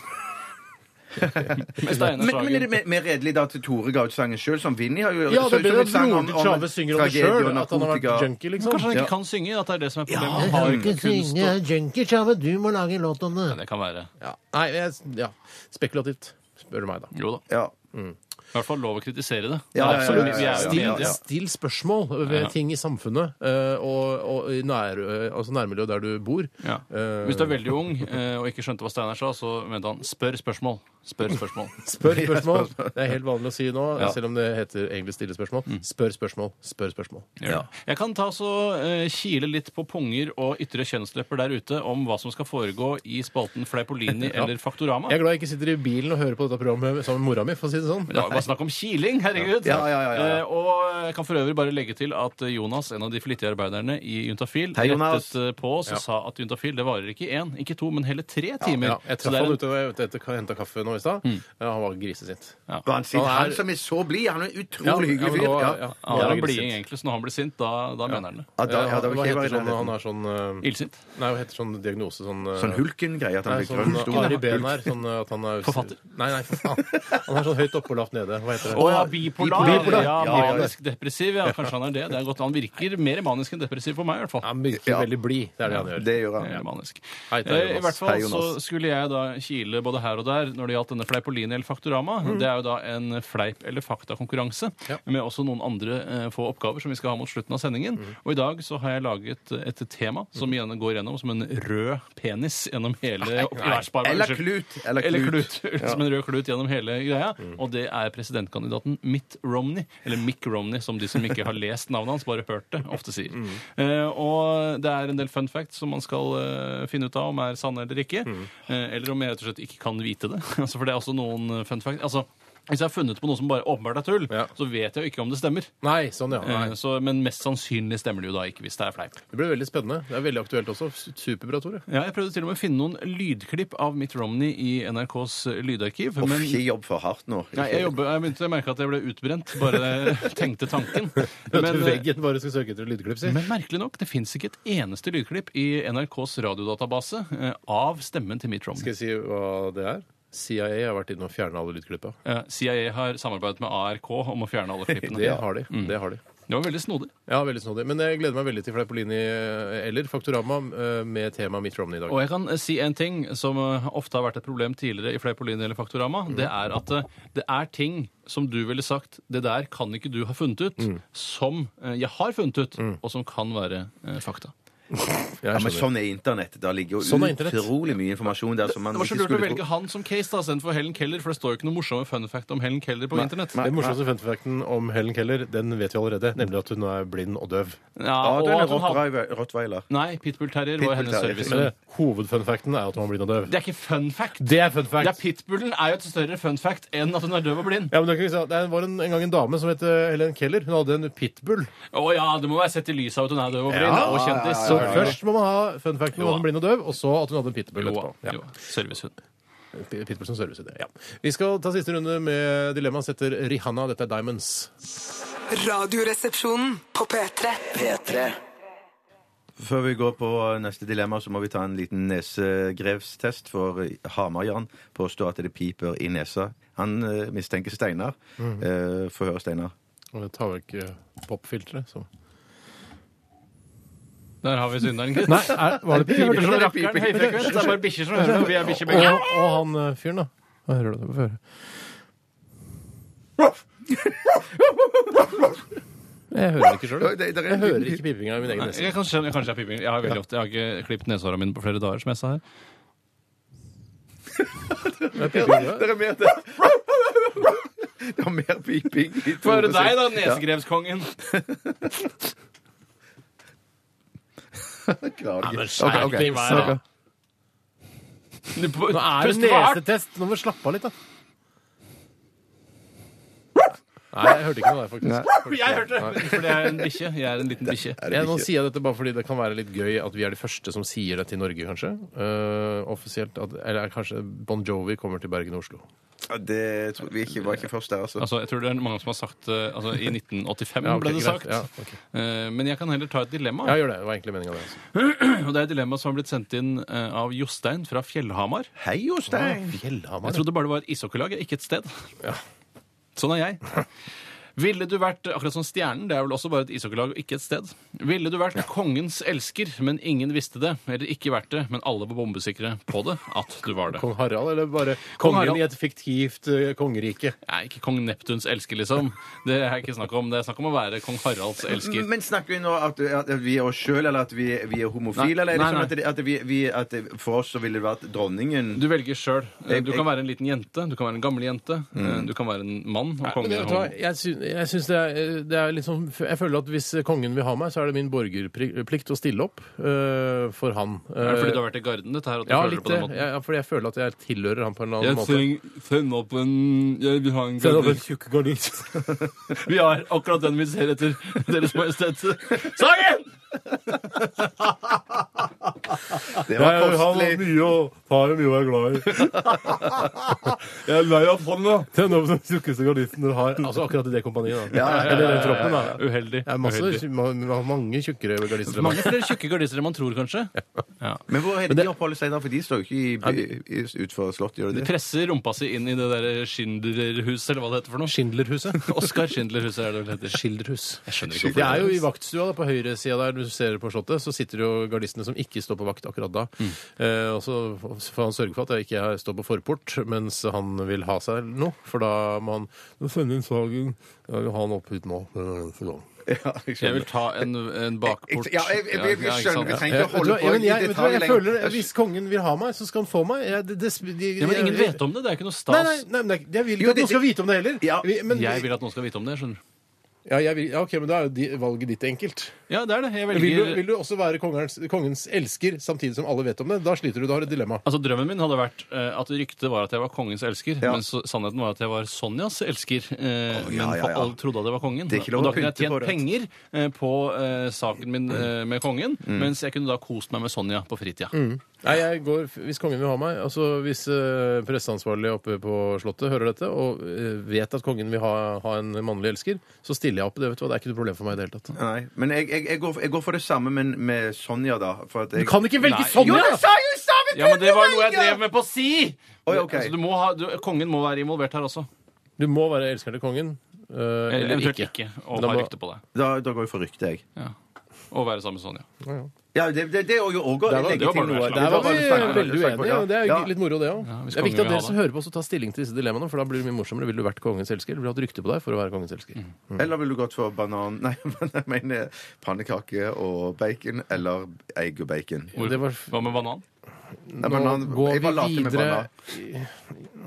Med Steinar Men, men er det Sagen. mer, mer redelig da til Tore ga ut sangen sjøl, som Vinni har jo Ja, det så ut blir som det en sang broren til Tjave synger om det tragedie og sjøl, at han har narkotika. vært junkie, liksom. Kanskje han Ja. ikke kan synge? At det er det som er problemet? Han har ikke kunst og junkie, Tjave, du må lage en låt om Det kan være. Ja. Nei, jeg, ja. spekulativt, spør du meg, da. Jo da. Ja. I hvert fall lov å kritisere det. Ja, Det er absolutt- ja, ja, Vi ja, er jo ja, ja. media. Ja. Eh, Still spørsmål ved Ja. ting i samfunnet eh, og, og i nær, eh, altså nærmiljøet der du bor. Ja. Eh, Hvis du er veldig ung eh, og ikke skjønte hva Steinar sa, så mente han 'spør spørsmål'. Spør spørsmål. Spør spørsmål. Det er helt vanlig å si nå, Ja. Mm. selv om det heter egentlig stille spørsmål. Spør spørsmål, spør spørsmål. Ja. Jeg kan ta så eh, kile litt på punger og ytre kjønnslepper der ute om hva som skal foregå i spalten Fleipolini Ja. eller Faktorama. Jeg er glad jeg ikke sitter i bilen og hører på dette programmet sammen med mora mi, for å si det sånn. Men Det var bare snakk om kiling, herregud! Ja, ja, ja, ja, ja. Eh, og jeg kan for øvrig bare legge til at Jonas, en av de flittige arbeiderne i Juntafil, Hei, Jonas. rettet eh, på oss og sa at Juntafil det varer ikke én, ikke to, men hele tre timer. Ja, jeg Så traff det er han en- Mm. ute ute etter å hente kaffe nå i stad. Ja, Han var grisesint. Og han, sier, Han er- han som er så blid, han er en utrolig hyggelig fyr. men Ja. da- ja, Ja, han han var er bliding, grisesint. egentlig, så når han blir sint, da, da mener han det. Ja, da, ja, da Hva vil ikke jeg heter være i sånn når han nærheten. har sånn eh, Illsint. Nei, hva heter sånn diagnose? Sånn, eh, Sånn Hulken-greie. At han Nei, blir sånn grønn eh, stor. Ari Behn her. Sånn eh, at han er Forfatter. Nei, nei, for faen. Han er sånn høyt oppe og lavt nede. Hva heter Å det? ja, bipolar. Bipolar. Ja, Ja, ja, ja. manisk depressiv. Ja, kanskje han er det. det er godt. Han virker mer manisk enn depressiv for meg, i hvert fall. Han virker Ja. veldig blid. Det er det han gjør. Det gjør han. Mer manisk. Hei til deg, Eh, I Jonas. hvert fall Hei, Jonas. så skulle jeg da kile både her og der når det gjaldt denne Fleipolini eller Faktorama. Det er jo da en fleip- eller faktakonkurranse Ja. med også noen andre eh, få oppgaver som vi skal ha mot slutten av sendingen. Og i dag så har jeg laget et tema som igjen går gjennom som en rød penis gjennom hele oppgjørsbarmen. Eller klut. Eller klut. Eller klut. Som en rød klut gjennom hele greia. Og det er presidentkandidaten Mitt Romney. Eller Mick Romney, som de som ikke har lest navnet hans, bare hørt det, ofte sier. Mm. Eh, og det er en del fun facts som man skal eh, finne ut av om er sanne eller ikke. Mm. Eh, eller om jeg rett og slett ikke kan vite det. altså, for det er også noen eh, fun facts. Altså, hvis jeg har funnet på noe som bare åpenbart er tull, Ja. så vet jeg jo ikke om det stemmer. Nei, sånn, ja. Eh, Nei. så, men mest sannsynlig stemmer det jo da ikke, hvis det er fleip. Det blir veldig spennende. Det er veldig aktuelt også. Superbra, Tore. Ja, jeg prøvde til og med å finne noen lydklipp av Mitt Romney i NRKs lydarkiv. Uff, men Ikke jobb for hardt nå. Nei, jeg, jobber, jeg begynte å merke at jeg ble utbrent. Bare jeg tenkte tanken. Men, Men, eh, veggen bare skal søke etter lydklipp, si. men merkelig nok, det fins ikke et eneste lydklipp i NRKs radiodatabase eh, av stemmen til Mitt Skal Romney. jeg si hva det er? CIA har vært inne og fjerna alle lydklippa. Eh, CIA har samarbeidet med ARK om å fjerne alle klippene. Det har de. Det har de. Det var veldig snodig. Ja, veldig snodig. Men eh, jeg gleder meg veldig til Fleipolini eh, eller Faktorama eh, med tema Mitt Romney i dag. Og jeg kan eh, si en ting som eh, ofte har vært et problem tidligere i Fleipolini eller Faktorama. Mm. Det er at eh, det er ting som du ville sagt det der kan ikke du ha funnet ut, Mm. som eh, jeg har funnet ut, og som kan være eh, fakta. Jeg Ja, men skjønner. sånn er internett. Da ligger jo Sånn er internett. utrolig mye informasjon der som man Det var så ikke lurt å skulle velge han som case da, istedenfor Helen Keller, for det står jo ikke noe morsomme fun fact om Helen Keller på internett. Den morsomste funfacten om Helen Keller den vet vi allerede, nemlig at hun er blind og døv. Ja, Ja, og du er at hun hadde... rottweiler- rottweiler. Nei, Pitbull Terrier var hennes Pitbull Terrier. service. Men hovedfunfacten er at hun er blind og døv. Det er ikke fun fact. Det er fun Det er fact. Pitbullen er jo et større fun fact enn at hun er døv og blind. Ja, men det, kan vi si at det var en, en gang en dame som het eh, Helen Keller. Hun hadde en pitbull. Å ja, det må være sett i lyset av at hun er døv og blind, Ja, og kjendis. Så først må man ha fun facten om at hun Jo. er blind og døv, og så at hun hadde en pitbull Jo, etterpå. Ja. jo, servicehund. P- Pitbullsons service. Ja. Vi skal ta siste runde med dilemmaet setter Rihanna. Dette er Diamonds. Radioresepsjonen på P3. P3 Før vi går på eh, neste dilemma, så må vi ta en liten nesegrevstest. For eh, Hamar-Jan påstår at det piper i nesa. Han eh, mistenker Steinar. Eh, Få høre, Steinar. Og jeg tar vekk eh, popfilteret. så- Der har vi synderen, gitt. Nei, er, var det pip? Hørte du rakkeren høyfrekvent? Det er bare bikkjer som hører det. Vi er bikkjer Og, begge. og han eh, fyren, da. Hva hører du det på før? Jeg hører det ikke sjøl. Oi, det- det er- Jeg hører ikke pipinga i min egen nese. Jeg kan skjønne, kanskje jeg er piping. Jeg har veldig ofte, jeg har ikke klippet neshåra mine på flere dager, som jeg sa her. Det er pipinga. Det er mer det. Det er mer piping. i Få høre Tore deg, sitt. da, nesegrevskongen. Klarer det ikke. skjerp Ok, ok. deg, vær da. Ok. Du pu- Nå er det puster for hardt. nesetest. Nå må du slappe av litt, da. Nei, jeg hørte ikke noe der, faktisk. Jeg hørte det! Fordi jeg er en bikkje. Jeg er en liten bikkje. Jeg, nå sier jeg dette bare fordi det kan være litt gøy at vi er de første som sier det til Norge, kanskje. Eh, offisielt. At, eller kanskje Bon Jovi kommer til Bergen og Oslo. Ja, Det tror vi ikke var ikke først der, altså. Altså, jeg tror det er mange som har sagt eh, altså, I 1985 Ja, ok, ble greit. det sagt. Ja, ok. Eh, Men jeg kan heller ta et dilemma. Ja, gjør det. Det var egentlig meninga, det. Altså. Og det er et dilemma som har blitt sendt inn eh, av Jostein fra Fjellhamar. Hei, Jostein! Jeg Fjellhamar. trodde bare det var et ishockeylag, ikke et sted. Sånn er jeg. Ville du vært akkurat som Stjernen, det er vel også bare et ishockeylag og ikke et sted. Ville du vært kongens elsker, men ingen visste det, eller ikke vært det, men alle var bombesikre på det, at du var det? Kong Harald, eller bare Kong kongen Harald. i et fiktivt eh, kongerike? Nei, ikke kong Neptuns elsker, liksom. Det er ikke snakk om. Det er snakk om å være kong Haralds elsker. Men snakker vi nå at, at vi er oss sjøl, eller at vi, vi er homofile? Eller er Nei, det nei, sånn nei. at, det, at, vi, vi, at det, for oss så ville det vært dronningen? Du velger sjøl. Jeg- Du kan være en liten jente, du kan være en gammel jente, du kan være en mann. Og Mm. Men kongen, vet du hva, jeg sy- jeg syns det er, det er liksom Jeg føler at hvis kongen vil ha meg, så er det min borgerplikt å stille opp øh, for han. er det fordi du har vært i garden, dette her? At du Eh, ja, føler litt det på det. den måten? Ja, fordi jeg føler at jeg tilhører han på en eller annen måte. send opp en Jeg vil ha en Send opp en tjukk gardin. Vi har akkurat den vi ser etter Deres Majestet. Sagen! Det var kostelig. mye og tar mye og er glad i. Jeg er lei av hånda. Send opp den tjukkeste gardisten du har. Altså akkurat i det kompaniet, da. Eller den troppen, da. Uheldig. Det er masse, Uheldig. ma- ma- mange tjukkere gardister. enn meg. Mange flere tjukke gardister enn man tror, kanskje. Ja. Men hvor er det de oppholder seg da? For de står jo ikke i, i, utenfor Slottet, gjør de De det? presser rumpa si inn i det der Schindlerhuset, eller hva det heter for noe. Schindlerhuset. Oskar Schindlerhuset er det vel heter. Schilderhus. Jeg skjønner ikke Det er hvorfor. jo i vaktstua da, på høyresida der du ser på slottet, så sitter jo gardistene som ikke står på vakt akkurat da. Mm. Eh, og så får han sørge for at jeg ikke er- står på forport mens han vil ha seg noe, for da må han «Nå sender inn saken. Jeg vil ha han opp hit nå. med en eneste gang». Ja, jeg Jeg skjønner. vil ta en, en bakport. Ja, jeg- jeg- jeg- jeg ikke skjønner. sant? Vi trenger Ja, ikke vet å du holde hva, på ja, men jeg- vet i du hva, detalj jeg lenger. føler, Hvis kongen vil ha meg, så skal han få meg. Jeg, det, det, de, Ja, men ingen vet om det. altså. Det er ikke noe stas. Nei, nei, nei, men det er ikke- jeg vil ikke Jo, at noen det- skal vite om det heller. Ja. Vi- men, Jeg vil at noen skal vite om det. skjønner du ja, jeg vil, ja, ok, men da er jo de, valget ditt enkelt. Ja, det er det. Jeg Men Vil du, velger vil du også være kongens, kongens elsker samtidig som alle vet om det? Da sliter du. Da har du et dilemma. Altså Drømmen min hadde vært eh, at ryktet var at jeg var kongens elsker. Ja. Men så, sannheten var at jeg var Sonjas elsker. eh, Å, ja, men ja, ja. alle trodde at jeg var kongen. Det er ikke lov og da å kunne jeg pynte på tjent det. penger eh, på eh, saken min eh, med kongen. Mm. Mens jeg kunne da kost meg med Sonja på fritida. Nei, jeg går, Hvis kongen vil ha meg altså Hvis uh, presseansvarlig oppe på Slottet hører dette og eh, vet at kongen vil ha, ha en mannlig elsker, så stiller jeg opp. Det vet du hva, det er ikke noe problem for meg i det hele tatt. Nei, men jeg, jeg, jeg, går, jeg går for det samme, men med Sonja, da. For at jeg... ikke Nei. Jo, det sa jeg jo sammen! Ja, men det var noe jeg drev med på si! Oi, ok. altså, du må ha, du, kongen må være involvert her også. Du må være elsker til kongen. eh, eller Eventuelt ikke. ikke. Og Da ha må- rykte på deg. Da, da går jeg for ryktet, jeg. Ja. Og være sammen med Sonja. Ja, det, det, det er jo òg Der var, det var bare noe jeg der var vi eh, veldig uenige. Ja. Det er jo Ja. litt moro, det òg. Ja, hvis det er viktig at kongen vil dere ha som hører på, også tar stilling til disse dilemmaene, for da blir det mye morsommere. Vil du vært kongens elsker? Vil du ha et rykte på deg for å være kongens Mm. elsker? Eller ville du gått for banan Nei, men jeg mener pannekake og bacon eller egg og bacon. Hvor- Det var- Hva med banan? Nei, Nå banan- går eh, jeg vi bare later med videre. banan.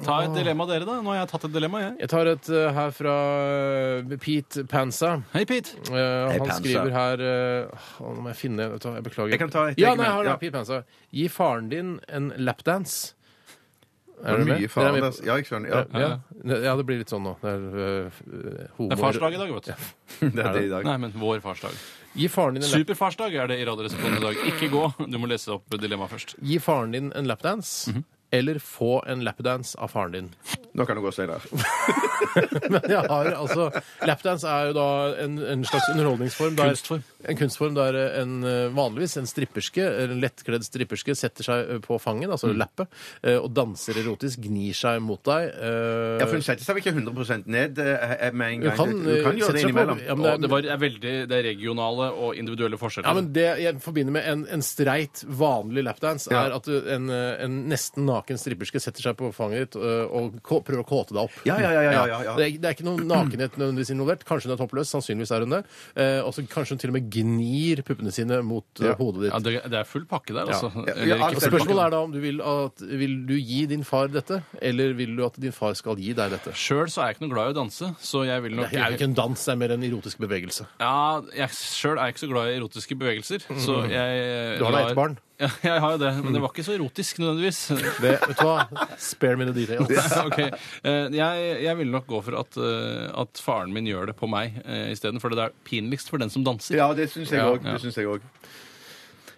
Ta et dilemma, dere, da. Nå har jeg tatt et dilemma, jeg. Jeg tar et eh, her fra eh, Pete Pansa. Hei, Pete. Eh, han Pansa. skriver her eh, å, Nå må jeg finne vet du hva, Jeg beklager. Jeg kan ta et ja, eget, nei, men- jeg har det, ja. Pete Pansa. Gi faren din en lapdance. Det Er var dere med? mye Dere er faen. med altså. Ja, jeg skjønner. Ja, på- Ja. ja, det blir litt sånn nå. Det er, eh, homo- Det er farsdag i dag, vet du. det er det i dag. Nei, men vår farsdag. Gi faren din en lap Superfarsdag er det i Radioresepsjonen i dag. Ikke gå. Du må lese opp dilemmaet først. Mhm. Gi faren din en lapdance. eller få en lapdance av faren din? Nå kan du gå og si det. Men jeg har altså Lapdance er jo da en, en slags underholdningsform. Der, Kunstform. En kunstform der en eh, vanligvis en stripperske, eller en lettkledd stripperske, setter seg eh, på fanget, altså Mm. lappet, eh, og danser erotisk, gnir seg mot deg. eh, Ja, for hun setter seg vel ikke 100 ned eh, med en Du gang? kan, du kan eh, gjøre sette det seg på- innimellom. Ja, men Og det, var, er veldig, det er regionale og individuelle forskjeller. Ja, men Det jeg forbinder med en, en streit, vanlig lapdance, Ja. er at du- en, eh, en nesten naken stripperske setter seg på fanget ditt eh, og kå- prøver å kåte deg opp. Ja, ja, ja, ja, ja, ja. Det, er, det er ikke noe nakenhet nødvendigvis involvert. Kanskje hun er toppløs. Sannsynligvis er hun det. Eh, og så kanskje hun til og med gnir puppene sine mot eh, hodet ditt. Ja, det, det er full pakke der, altså. Ja, Og alt Eller ikke full pakke. Spørsmålet er da om du vil, at, vil du gi din far dette, eller vil du at din far skal gi deg dette? Sjøl så er jeg ikke noe glad i å danse, så jeg vil nok Det er jo ikke en dans, det er mer en erotisk bevegelse. Ja, jeg sjøl er ikke så glad i erotiske bevegelser, så jeg Mm. Du har da lar- ett barn. Ja, jeg har jo det, men det var ikke så erotisk nødvendigvis. Det, vet du hva? Spare me the details. Ok, eh, Jeg, jeg ville nok gå for at, eh, at faren min gjør det på meg eh, isteden, for det er pinligst for den som danser. Ja, det syns jeg Ja, òg. ja. Det syns jeg òg.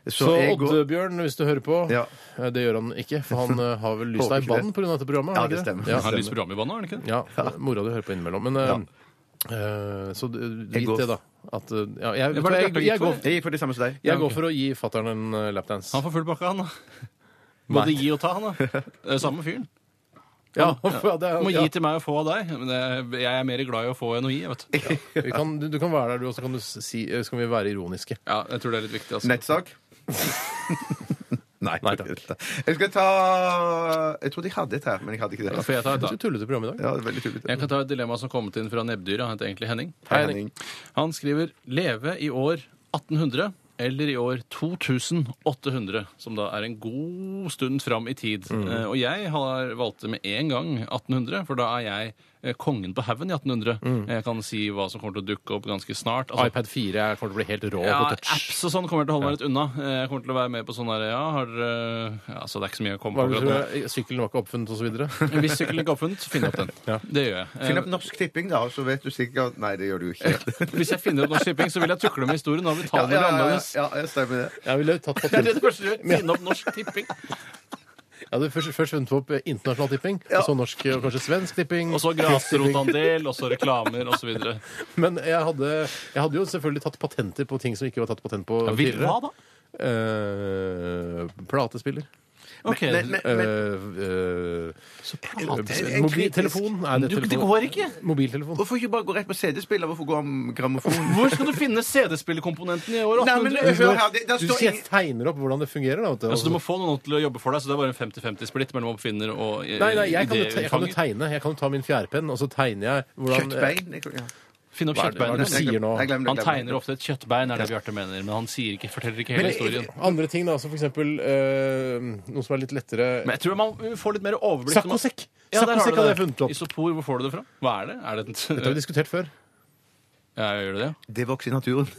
Så, Så eh, jeg går Oddbjørn, hvis du hører på Ja. eh, Det gjør han ikke, for han eh, har vel lyst Håper deg i ikke det. banen pga. dette programmet? Ja, har det han ikke stemmer. Ja. Han har lyst på Ramibanen, har han ikke det? Ja, eh, mora du hører på innimellom. Men eh, eh, så eh, går- vit det, da. At, eh, ja, jeg, Det vet du var hva, det jeg, Bjarte jeg, gikk for. går, Jeg gikk for det samme som deg. jeg går for å gi fatter'n en eh, lapdance. Han får full pakke, han. da. Både gi og ta, han. da. Det er Samme fyren. Ja, ja, det er- Du må ja. gi til meg og få av deg. Men det- jeg er mer glad i å få enn å gi. vet du. Vi kan, du, du kan være der, du, og så kan du si, eh, så kan vi være ironiske. Ja, jeg tror det er litt viktig. altså. Nettsak? Nei, Nei, takk. Jeg skal ta Jeg trodde jeg hadde et her, men jeg hadde ikke Ja, det. får jeg, ta et, da? Ganske tullete program i dag. Ja, det er veldig tullete. jeg kan ta et dilemma som kom inn fra nebbdyret. Han heter egentlig Henning. Hei, Henning. Han skriver 'leve i år 1800'. Eller i år 2800, som da er en god stund fram i tid. Mm. Eh, og jeg har valgt det med en gang 1800, for da er jeg eh, kongen på haugen i 1800. Mm. Jeg kan si hva som kommer til å dukke opp ganske snart. Altså, iPad 4 er- kommer til å bli helt rå ja, på touch. apps og sånn kommer jeg til å holde meg litt unna. Eh, Jeg kommer til å være med på sånn der, ja, har dere- ja, Altså, det er ikke så mye å komme Hva er på. det du akkurat nå. tror? eh, Sykkelen var ikke oppfunnet, osv.? Hvis sykkelen ikke er oppfunnet, så finn opp den. Det gjør jeg. Finn opp Norsk Tipping, da, så vet du sikkert Nei, det gjør du jo ikke. Eh, Hvis jeg finner opp Norsk Tipping, så vil jeg tukle med historien. Da Ja, betaler ja, ja, vi ja, annerledes. ja, jeg stemmer det. Jeg ville tatt Det er det patent. første du gjør. Finne opp Norsk Tipping. Jeg hadde først, først funnet opp eh, internasjonal tipping, Ja. og så norsk eh, og kanskje svensk tipping. Og så tysk tipping. grasrotandel, og så reklamer, osv. Men jeg hadde, jeg hadde jo selvfølgelig tatt patenter på ting som ikke var tatt patent på tidligere. da? Eh, platespiller. Ok, Men, men, Eh, men, eh, så Jeg- platespiller. jeg- mobiltelefon. Nei, det, er Du, det telefon. går ikke! Mobiltelefon. hvorfor ikke bare gå rett på CD-spill? Hvorfor gå om grammofon? Hvor skal du finne CD-spillkomponenten i år Nei, men 800? hør her, det, der Du står ingen tegner opp hvordan det fungerer. Da, vet du. Altså, du må få noen til å jobbe for deg, så det er bare en 50-50-splitt mellom oppfinner og eh, Nei, nei, jeg kan, jo te jeg kan jo idéutfanger. tegne. Jeg kan jo ta min fjærpenn, og så tegner jeg hvordan Kjøttbein? Jeg- ja. Finn opp Hva er det- hva er det kjøttbeinet. du sier nå? Jeg glemmer det, Han jeg glemmer tegner det. ofte et kjøttbein, er det Bjarte mener. Men han sier ikke, forteller ikke hele historien. Andre ting, da, som for eksempel eh, noe som er litt lettere Men jeg tror man får litt mer overblikk. når man- Saccosekk! Ja, der har du Saccosekk hadde det. jeg funnet opp. Isopor, hvor får du det fra? Hva er det? Er det Dette har vi et... diskutert før. Ja, jeg gjør det, Det vokser i naturen. ja.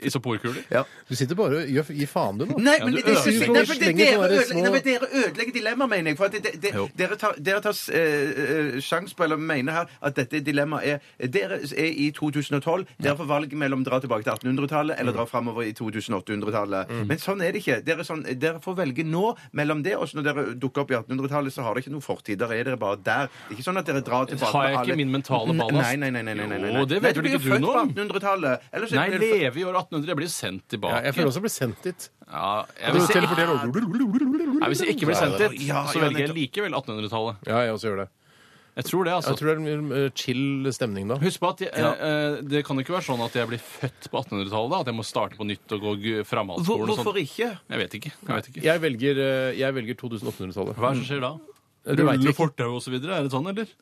Isoporkuler? Ja. Du sitter bare og gjør- gir faen, du, nå. Nei, Ja, men du det, det, ødelegger synes jeg- jo nei, for det, slenger dere, sånne der ødelegger, små- nei, men dere ødelegger dilemmaet, mener jeg. For at det, det, Jo. dere tar, dere tar eh, eh, sjans på, eller mener her, at dette dilemmaet er Dere er i 2012. Dere får valg mellom dra tilbake til 1800-tallet eller Mm. dra framover i 2800-tallet. Men sånn er det ikke. Dere, er sånn, dere får velge nå mellom det, og så når dere dukker opp i 1800-tallet, så har dere ikke noe fortid. Der er dere bare der. Det er ikke sånn at dere drar tilbake Har jeg med ikke alle- min mentale ballast? Nei, nei, nei. nei, nei, nei, nei. Jo, det vet Nei, vel blir ikke jo du født noe på om. 1800-tallet. Eller så- Nei, eller så- leve i år 1800. Jeg blir jo sendt tilbake. Ja, jeg føler også å bli sendt dit. Ja, jeg Du vil si... teleporterer over. Nei, hvis jeg ikke blir sendt dit, Ja, ja, så velger jeg nettopp. likevel 1800-tallet. Ja, jeg også gjør det. Jeg tror det, altså. Jeg tror det er en eh, chill stemning da. Husk på at jeg, eh, eh, Det kan jo ikke være sånn at jeg blir født på 1800-tallet. da, At jeg må starte på nytt og gå g- Hvor, framhaldsskolen og hvorfor sånn. ikke? Jeg vet ikke. jeg vet ikke. Jeg velger, eh, jeg velger 2800-tallet. Hva er det som skjer da? Du vet Rulle ikke. fortau og så videre? Er det sånn, eller?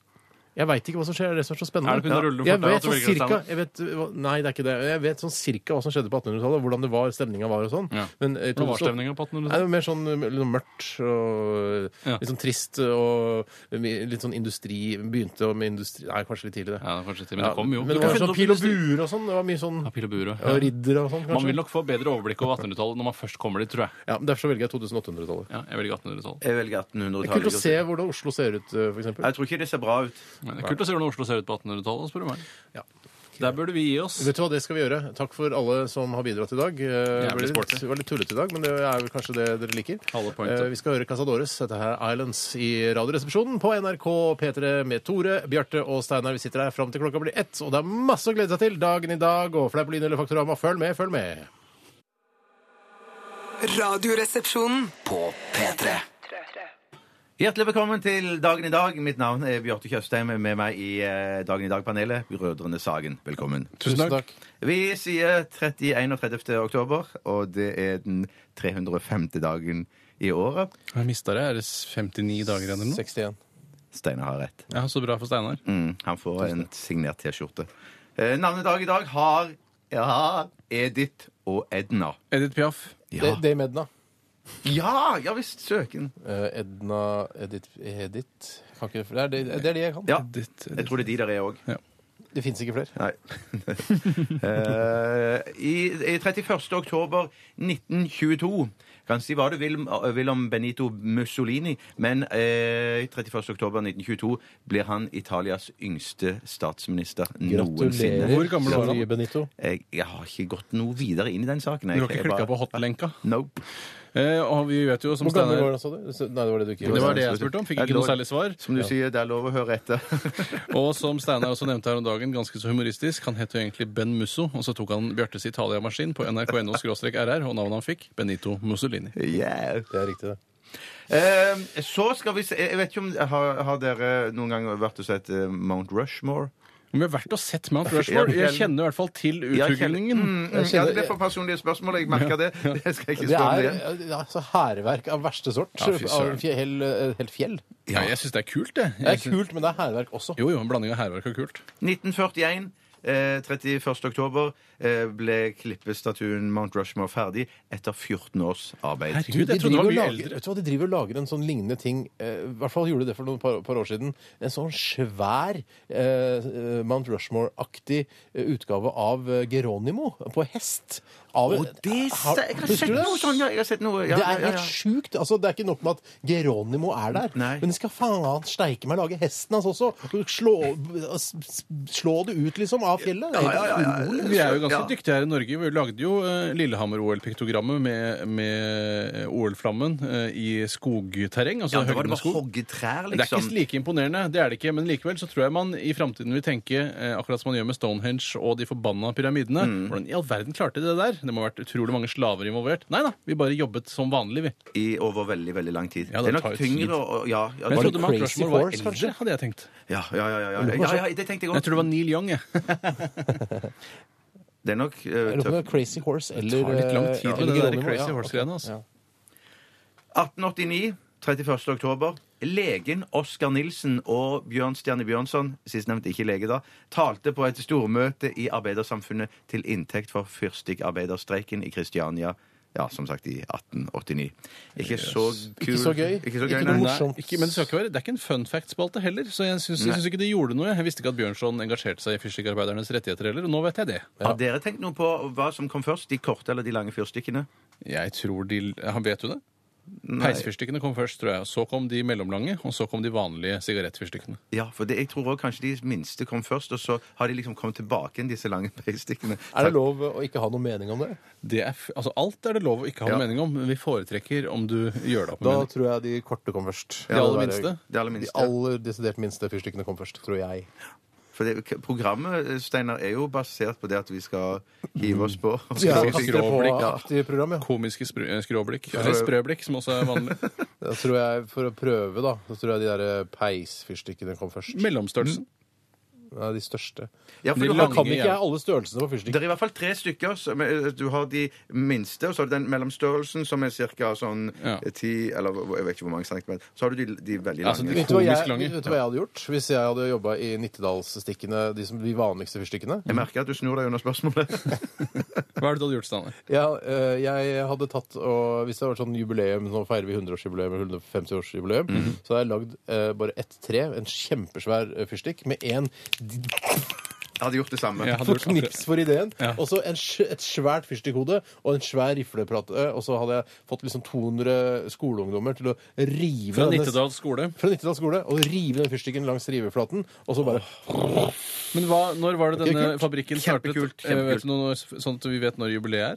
Jeg veit ikke hva som skjer. Det er det som er så spennende. Er det på grunn av rullende jeg fortau at vet du sånn velger dette cirka, jeg vet, hva- Nei, det er ikke det. Jeg vet sånn cirka hva som skjedde på 1800-tallet, hvordan det var, stemninga var og sånn. Ja. Men, eh, Hvordan var 2000 stemninga på Nei, liksom? det 1800-tallet? var mer sånn eh, litt mørkt og Ja. litt sånn trist og litt sånn industri Begynte med industri Nei, kanskje litt tidlig, det. Ja, kanskje ikke, men det kom jo. Men Du det kan var finne sånn opp pil og bur industri- og sånn. Det var mye sånn Ja, pil og bur, ja, ja. Riddere og sånn, kanskje. Man vil nok få bedre overblikk over 1800-tallet når man først kommer dit, tror jeg. ja, derfor så velger jeg 2800-tallet. Ja, jeg velger 1800-tallet. Jeg velger Det er kult å 1800-tallet. se hvordan Oslo ser ut, eh, for eksempel. Jeg tror ikke det ser bra ut. Men Det er kult å se hvordan Oslo ser ut på 1800-tallet, spør du meg. Der burde vi gi oss. Vet du hva, det skal vi gjøre. Takk for alle som har bidratt i dag. Eh, Jævlig Det var litt- sporty. det var litt tullete i dag, men det er vel kanskje det dere liker. Halve poenget. Eh, Vi skal høre Casadores. Dette her er Islands i Radioresepsjonen på NRK P3 med Tore, Bjarte og Steinar. Vi sitter her fram til klokka blir ett, og det er masse å glede seg til dagen i dag. Og Fleipolin eller Faktorama, følg med, følg med. Radioresepsjonen. På P3 Hjertelig velkommen til Dagen i dag. Mitt navn er Bjarte Tjøstheim. Med meg i eh, Dagen i dag-panelet, Brødrene Sagen. Velkommen. Tusen takk. Vi sier 31. og 30. oktober, og det er den 305. dagen i året. Jeg mista det. Er det 59 dager igjen eller noe? 61. Steinar har rett. Ja, Så bra for Steinar. Mm, han får en signert T-skjorte. Eh, navnedag i dag har ja, Edith og Edna. Edith Piaf. Ja, Det- Det er Medna. ja, ja visst. Søken. Eh, Edna Edith, Edith. Kan ikke, det, er det, det er de jeg kan. Ja, Edith, jeg tror det er de der er òg. Det fins ikke flere. Nei. Eh, i, I 31. oktober 1922 kan si hva du vil, om- vil om Benito Mussolini, men eh, i 31. oktober 1922 blir han Italias yngste statsminister noensinne. Hvor gammel var han? Nye Benito. Jeg, jeg har ikke gått noe videre inn i den saken. Du Jeg, har ikke jeg bare- klikka på hotlenka? Nope. Eh, og vi vet jo, som Hvor gammel var Steinar han, sa du? Så- Nei, det var det du ikke Det var det jeg spurte om. Fikk Ja, ikke noe lov- særlig svar. Som du sier, det er lov å høre etter. Og som Steinar også nevnte her om dagen, ganske så humoristisk, han het jo egentlig Ben Musso, og så tok han Bjartes Italia-maskin på nrk.no-rr, og navnet han fikk, Benito Mussolini. yeah. Det er riktig, det. Eh, så skal vi se Jeg vet ikke om Har, har dere noen gang vært og sett eh, Mount Rushmore? Men vi har vært og sett Mount Rushmore. Ja, Jeg kjenner i hvert fall til Ja, jeg kjenner- uthuglingen. Mm, mm, ja, det ble for personlige spørsmål. Jeg merker det. Det skal jeg ikke Det stå om igjen. er ja, altså, hærverk av verste sort. Ja, fy av søren. en fjell, hel, et helt fjell. Ja, jeg syns det er kult, det. Det er kult, men det er hærverk også. Jo, jo, en blanding av hærverk og kult. 1941. Eh, 31. oktober eh, ble klippestatuen Mount Rushmore ferdig etter 14 års arbeid. Herregud, jeg De trodde det driver og var mye lager- eldre. Vet du hva, De driver og lager en sånn lignende ting eh, I hvert fall gjorde de det for noen par, par år siden. En sånn svær eh, Mount Rushmore-aktig eh, utgave av eh, Geronimo på hest. Av, Og det Har- sa- Jeg har Husker sett du det? noe sånn, ja. Jeg har sett noe, ja, det ja, er ja, helt ja. sjukt. Altså, det er ikke nok med at Geronimo er der, Nei. men de skal faen steike meg lage hesten hans også. Slå, s- s- slå det ut, liksom, av fjellet. Det er helt utrolig. Vi er jo ganske Ja. dyktige her i Norge. Vi lagde jo eh, Lillehammer-OL-piktogrammet med, med OL-flammen eh, i skogterreng. Ja, da Altså var det høgdende bare å skog. hogge trær, Det er liksom. ikke like imponerende, det er det ikke, men likevel så tror jeg man i framtiden vil tenke, eh, akkurat som man gjør med Stonehenge og de forbanna pyramidene Mm. Hvordan i all verden klarte de det der? Det må ha vært utrolig mange slaver involvert. Nei da, vi bare jobbet som vanlig, vi. I over veldig, veldig lang tid. Ja, det det er nok tar jo tid. tyngre og ja, ja, Men jeg det- trodde Mark Crazy Rushmore var Horse, eldre, kanskje? hadde jeg tenkt. ja, ja, ja, ja, ja, ja, ja, det tenkte jeg Jeg òg. tror det var Neil Young, jeg. Det er nok eh, Jeg lurer på om det tøft. er Crazy Horse eller tar litt lang eh, tid med eller det der Geronimo. Crazy Ja, Horse-greiene, ok. altså. Ja. 1889, 31. oktober. Legen Oskar Nilsen og Bjørn Stjerne Bjørnson, sistnevnte ikke lege da, talte på et stormøte i Arbeidersamfunnet til inntekt for fyrstikkarbeiderstreiken i Kristiania. Ja, som sagt, i 1889. Ikke så kul. Ikke så gøy. Ikke så gøy, Ikke nei. noe morsomt. Ikke, men det skal ikke være, det er ikke en fun fact-spalte heller, så jeg syns, jeg syns ikke det gjorde noe. Jeg visste ikke at Bjørnson engasjerte seg i fyrstikkarbeidernes rettigheter heller, og nå vet jeg det. Har dere tenkt noe på hva som kom først? De korte eller de lange fyrstikkene? Jeg tror de Han vet du det? Peisfyrstikkene kom først, tror jeg. og Så kom de mellomlange, og så kom de vanlige sigarettfyrstikkene. Ja, for det, jeg tror også kanskje de minste kom først, og så har de liksom kommet tilbake igjen, disse lange peistikkene. Er det lov å ikke ha noen mening om det? Det er, f- altså, alt er det lov å ikke ha Ja. noen mening om, men vi foretrekker om du gjør det opp med Da mening. tror jeg de korte kom først. De aller minste? Det aller De minste. aller desidert minste fyrstikkene kom først, tror jeg. For det, programmet eh, Steinar, er jo basert på det at vi skal hive oss på. Ja, vi aktig sikre overblikk, ja. aktig program, ja. Komiske spr eh, skråblikk. Eller sprøblikk, som også er vanlig. Da tror jeg, For å prøve, da, så tror jeg de der eh, peisfyrstikkene kom først. Mellomstørrelsen. Nei, de største. Ja, for De du Da har, lange- kan ikke jeg alle størrelsene på det fyrstikker. er i hvert fall tre stykker. som er- Du har de minste, og så har du den mellomstørrelsen, som er ca. sånn Ja. ti Eller hvor- jeg vet ikke hvor mange centimeter. Så har du de, de veldig Altså, lange. de- Vet du, hva komisk lange. jeg, vet du hva jeg hadde gjort hvis jeg hadde jobba i Nittedalsstikkene, de, som- de vanligste fyrstikkene? Jeg merker at du snur deg under spørsmålet. Hva er det du hadde gjort, Steinar? Ja, eh, jeg hadde tatt og Hvis det hadde vært sånn jubileum, nå feirer vi 100-årsjubileum eller 150-årsjubileum, så hadde jeg lagd eh, bare ett tre, en kjempesvær eh, fyrstikk, med en Jeg hadde gjort det samme. Jeg hadde Få gjort akkurat- knips for ideen. Ja. Og så en sj- et svært fyrstikkhode og en svær rifleplate. eh, Og så hadde jeg fått liksom 200 skoleungdommer til å rive Fra denne- Nittedal skole. fra Nittedal skole og rive den fyrstikken langs riveflaten. Og så bare Men hva, når var det denne Kult. fabrikken startet? Kjempekult, Eh, Vet kjempekult. du noe, sånn at vi vet når jubileet er?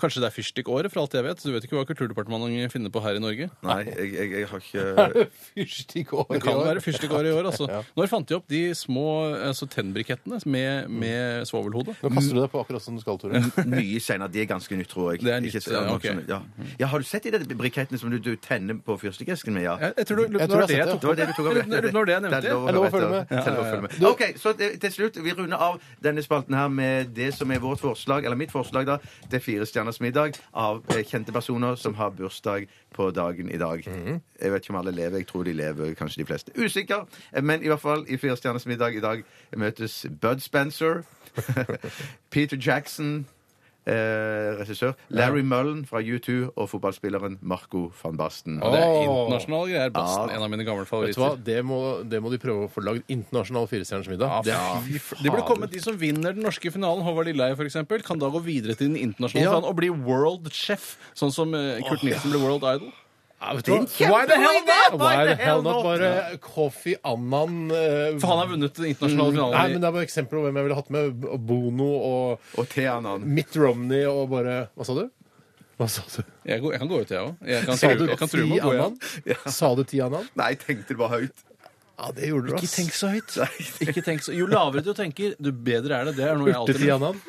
Kanskje det er fyrstikkåret, for alt jeg vet. Du vet ikke hva Kulturdepartementet finner på her i Norge? Nei, jeg, jeg, jeg har ikke fyrstikkår. Det kan være fyrstikkåret i år, altså. Når fant de opp de små altså, tennbrikettene med, med svovelhode? Nå kaster du deg på akkurat som du skal, Tore. Mye senere. De er ganske nytt, tror jeg. Det er nytt, Ikke så- ja, ok. ja. ja, Har du sett de der brikettene som du, du tenner på fyrstikesken med? Ja. Jeg, jeg tror det Jeg det tror var jeg det har jeg sett tok Det var det du tok opp. Jeg lurer på når det er nevnt, Det er lov Er det lov å følge med? høre, vet du. Det er lov å følge med. Du- OK, så til til slutt, vi runder av denne spalten her med det som er vårt forslag, eller mitt forslag, da, til Fire stjerners middag av eh, kjente personer som har bursdag på dagen i dag. Jeg vet ikke om alle lever, jeg tror de lever, kanskje de fleste. Usikker, eh, men i hvert fall i Fire stjerners middag i dag møtes Bud Spencer, Peter Jackson eh, regissør Larry Mullen fra U2 og fotballspilleren Marco van Basten. Ja, det er Åh. internasjonale greier. Basten, en av mine gamle Vet du hva? favoritter. Det må, det må de prøve å få lagd internasjonal firestjerners middag. Ja, Det er- fy f- det burde kommet de som vinner den norske finalen, Håvard Lilleheie f.eks., kan da gå videre til den internasjonale Ja. finalen og bli world chef, sånn som eh, Kurt Nilsen ble world idol. Ja, vet du hva? er en Why the kjempegod hell idé! not? Why the hell not? Bare Kofi Annan eh, For han har vunnet den Mm. internasjonale Nei, men finalen. det er bare eksempler på hvem jeg ville hatt med. B- Bono og Og Teanan. Mitt Romney og bare Hva sa du? Hva sa du? i- Jeg, går, jeg kan gå ut, jeg òg. Jeg kan Sa true- du jeg kan true ti med å gå igjen. annan? Sa du ti annan? Nei, jeg tenkte det var høyt. Ja, det gjorde du, Ikke ass. tenk så høyt. Ikke tenk så, jo lavere du tenker, jo bedre er det. Det er noe jeg Urte alltid ti annan?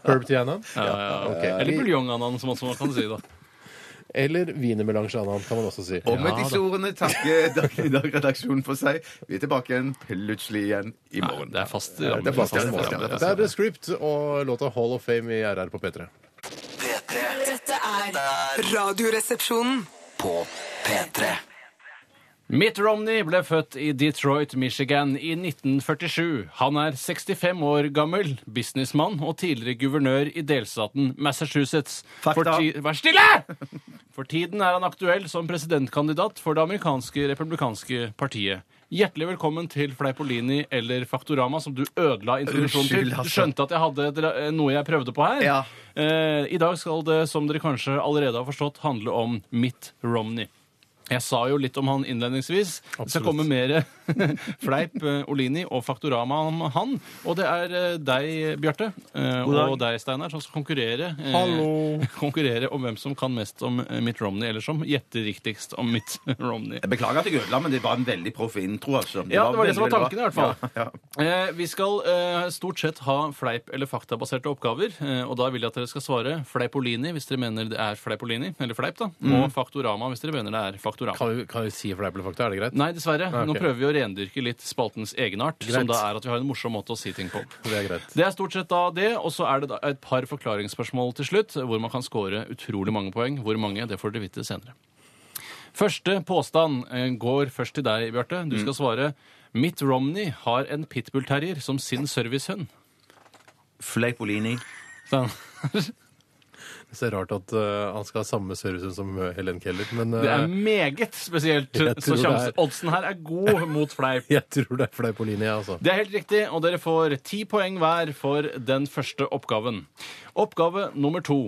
Herb ti annan? Ja, ja, ja. Eller buljong-anan, som man kan si. da Eller wienermelange anan, kan man også si. Og med Ja, disse da. ordene takker Dag i dag-redaksjonen for seg. Vi er tilbake igjen plutselig igjen i morgen. Det er fast. det er fast, ja, det er fast, ja, det er Det er The Script og låta Hall of Fame i RR på P3. P3 Dette er Radioresepsjonen. på P3 Mitt Romney ble født i Detroit, Michigan i 1947. Han er 65 år gammel, businessmann og tidligere guvernør i delstaten Massachusetts. For ti- Vær stille! For tiden er han aktuell som presidentkandidat for det amerikanske republikanske partiet. Hjertelig velkommen til Fleipolini eller Faktorama, som du ødela introduksjonen til. Unnskyld, Du altså. skjønte at jeg hadde et- noe jeg prøvde på her. Ja. Eh, I dag skal det, som dere kanskje allerede har forstått, handle om Mitt Romney. Jeg sa jo litt om han innledningsvis. Det skal komme mer fleip, eh, Olini og Faktorama om han. Og det er eh, deg, Bjarte, eh, og deg, Steinar, som skal konkurrere. eh, Konkurrere om hvem som kan mest om eh, Mitt Romney, eller som gjetter riktigst om Mitt Romney. Jeg beklager at jeg ødela, men det var en veldig proff intro. altså. Ja, det var det som var veldig, veldig tanken i hvert bra. fall. Ja, ja. Eh, vi skal eh, stort sett ha fleip- eller faktabaserte oppgaver. Eh, og da vil jeg at dere skal svare fleipolini hvis dere mener det er fleipolini, eller fleip, da. Mm. Og faktorama hvis dere mener det er faktorama. Kan vi, kan vi si fleip eller fakta? Er det greit? Nei, dessverre. Ah, ok. Nå prøver vi å rendyrke litt spaltens egenart, Greit. som da er at vi har en morsom måte å si ting på. Det er greit. Det er stort sett da det, og så er det da et par forklaringsspørsmål til slutt, hvor man kan score utrolig mange poeng. Hvor mange, det får dere vite senere. Første påstand eh, går først til deg, Bjarte. Du Mm. skal svare Mitt Romney har en pitbull-terrier som sin servicehund. Fleipolini. Så- Sånn. Så det er rart at eh, han skal ha samme servicehund som eh, Helen Keller, men eh, Det er meget spesielt, Jeg så tror det er- sjansen oddsen her er god mot fleip. jeg tror det er fleip på linje, altså. Det er helt riktig, og dere får ti poeng hver for den første oppgaven. Oppgave nummer to.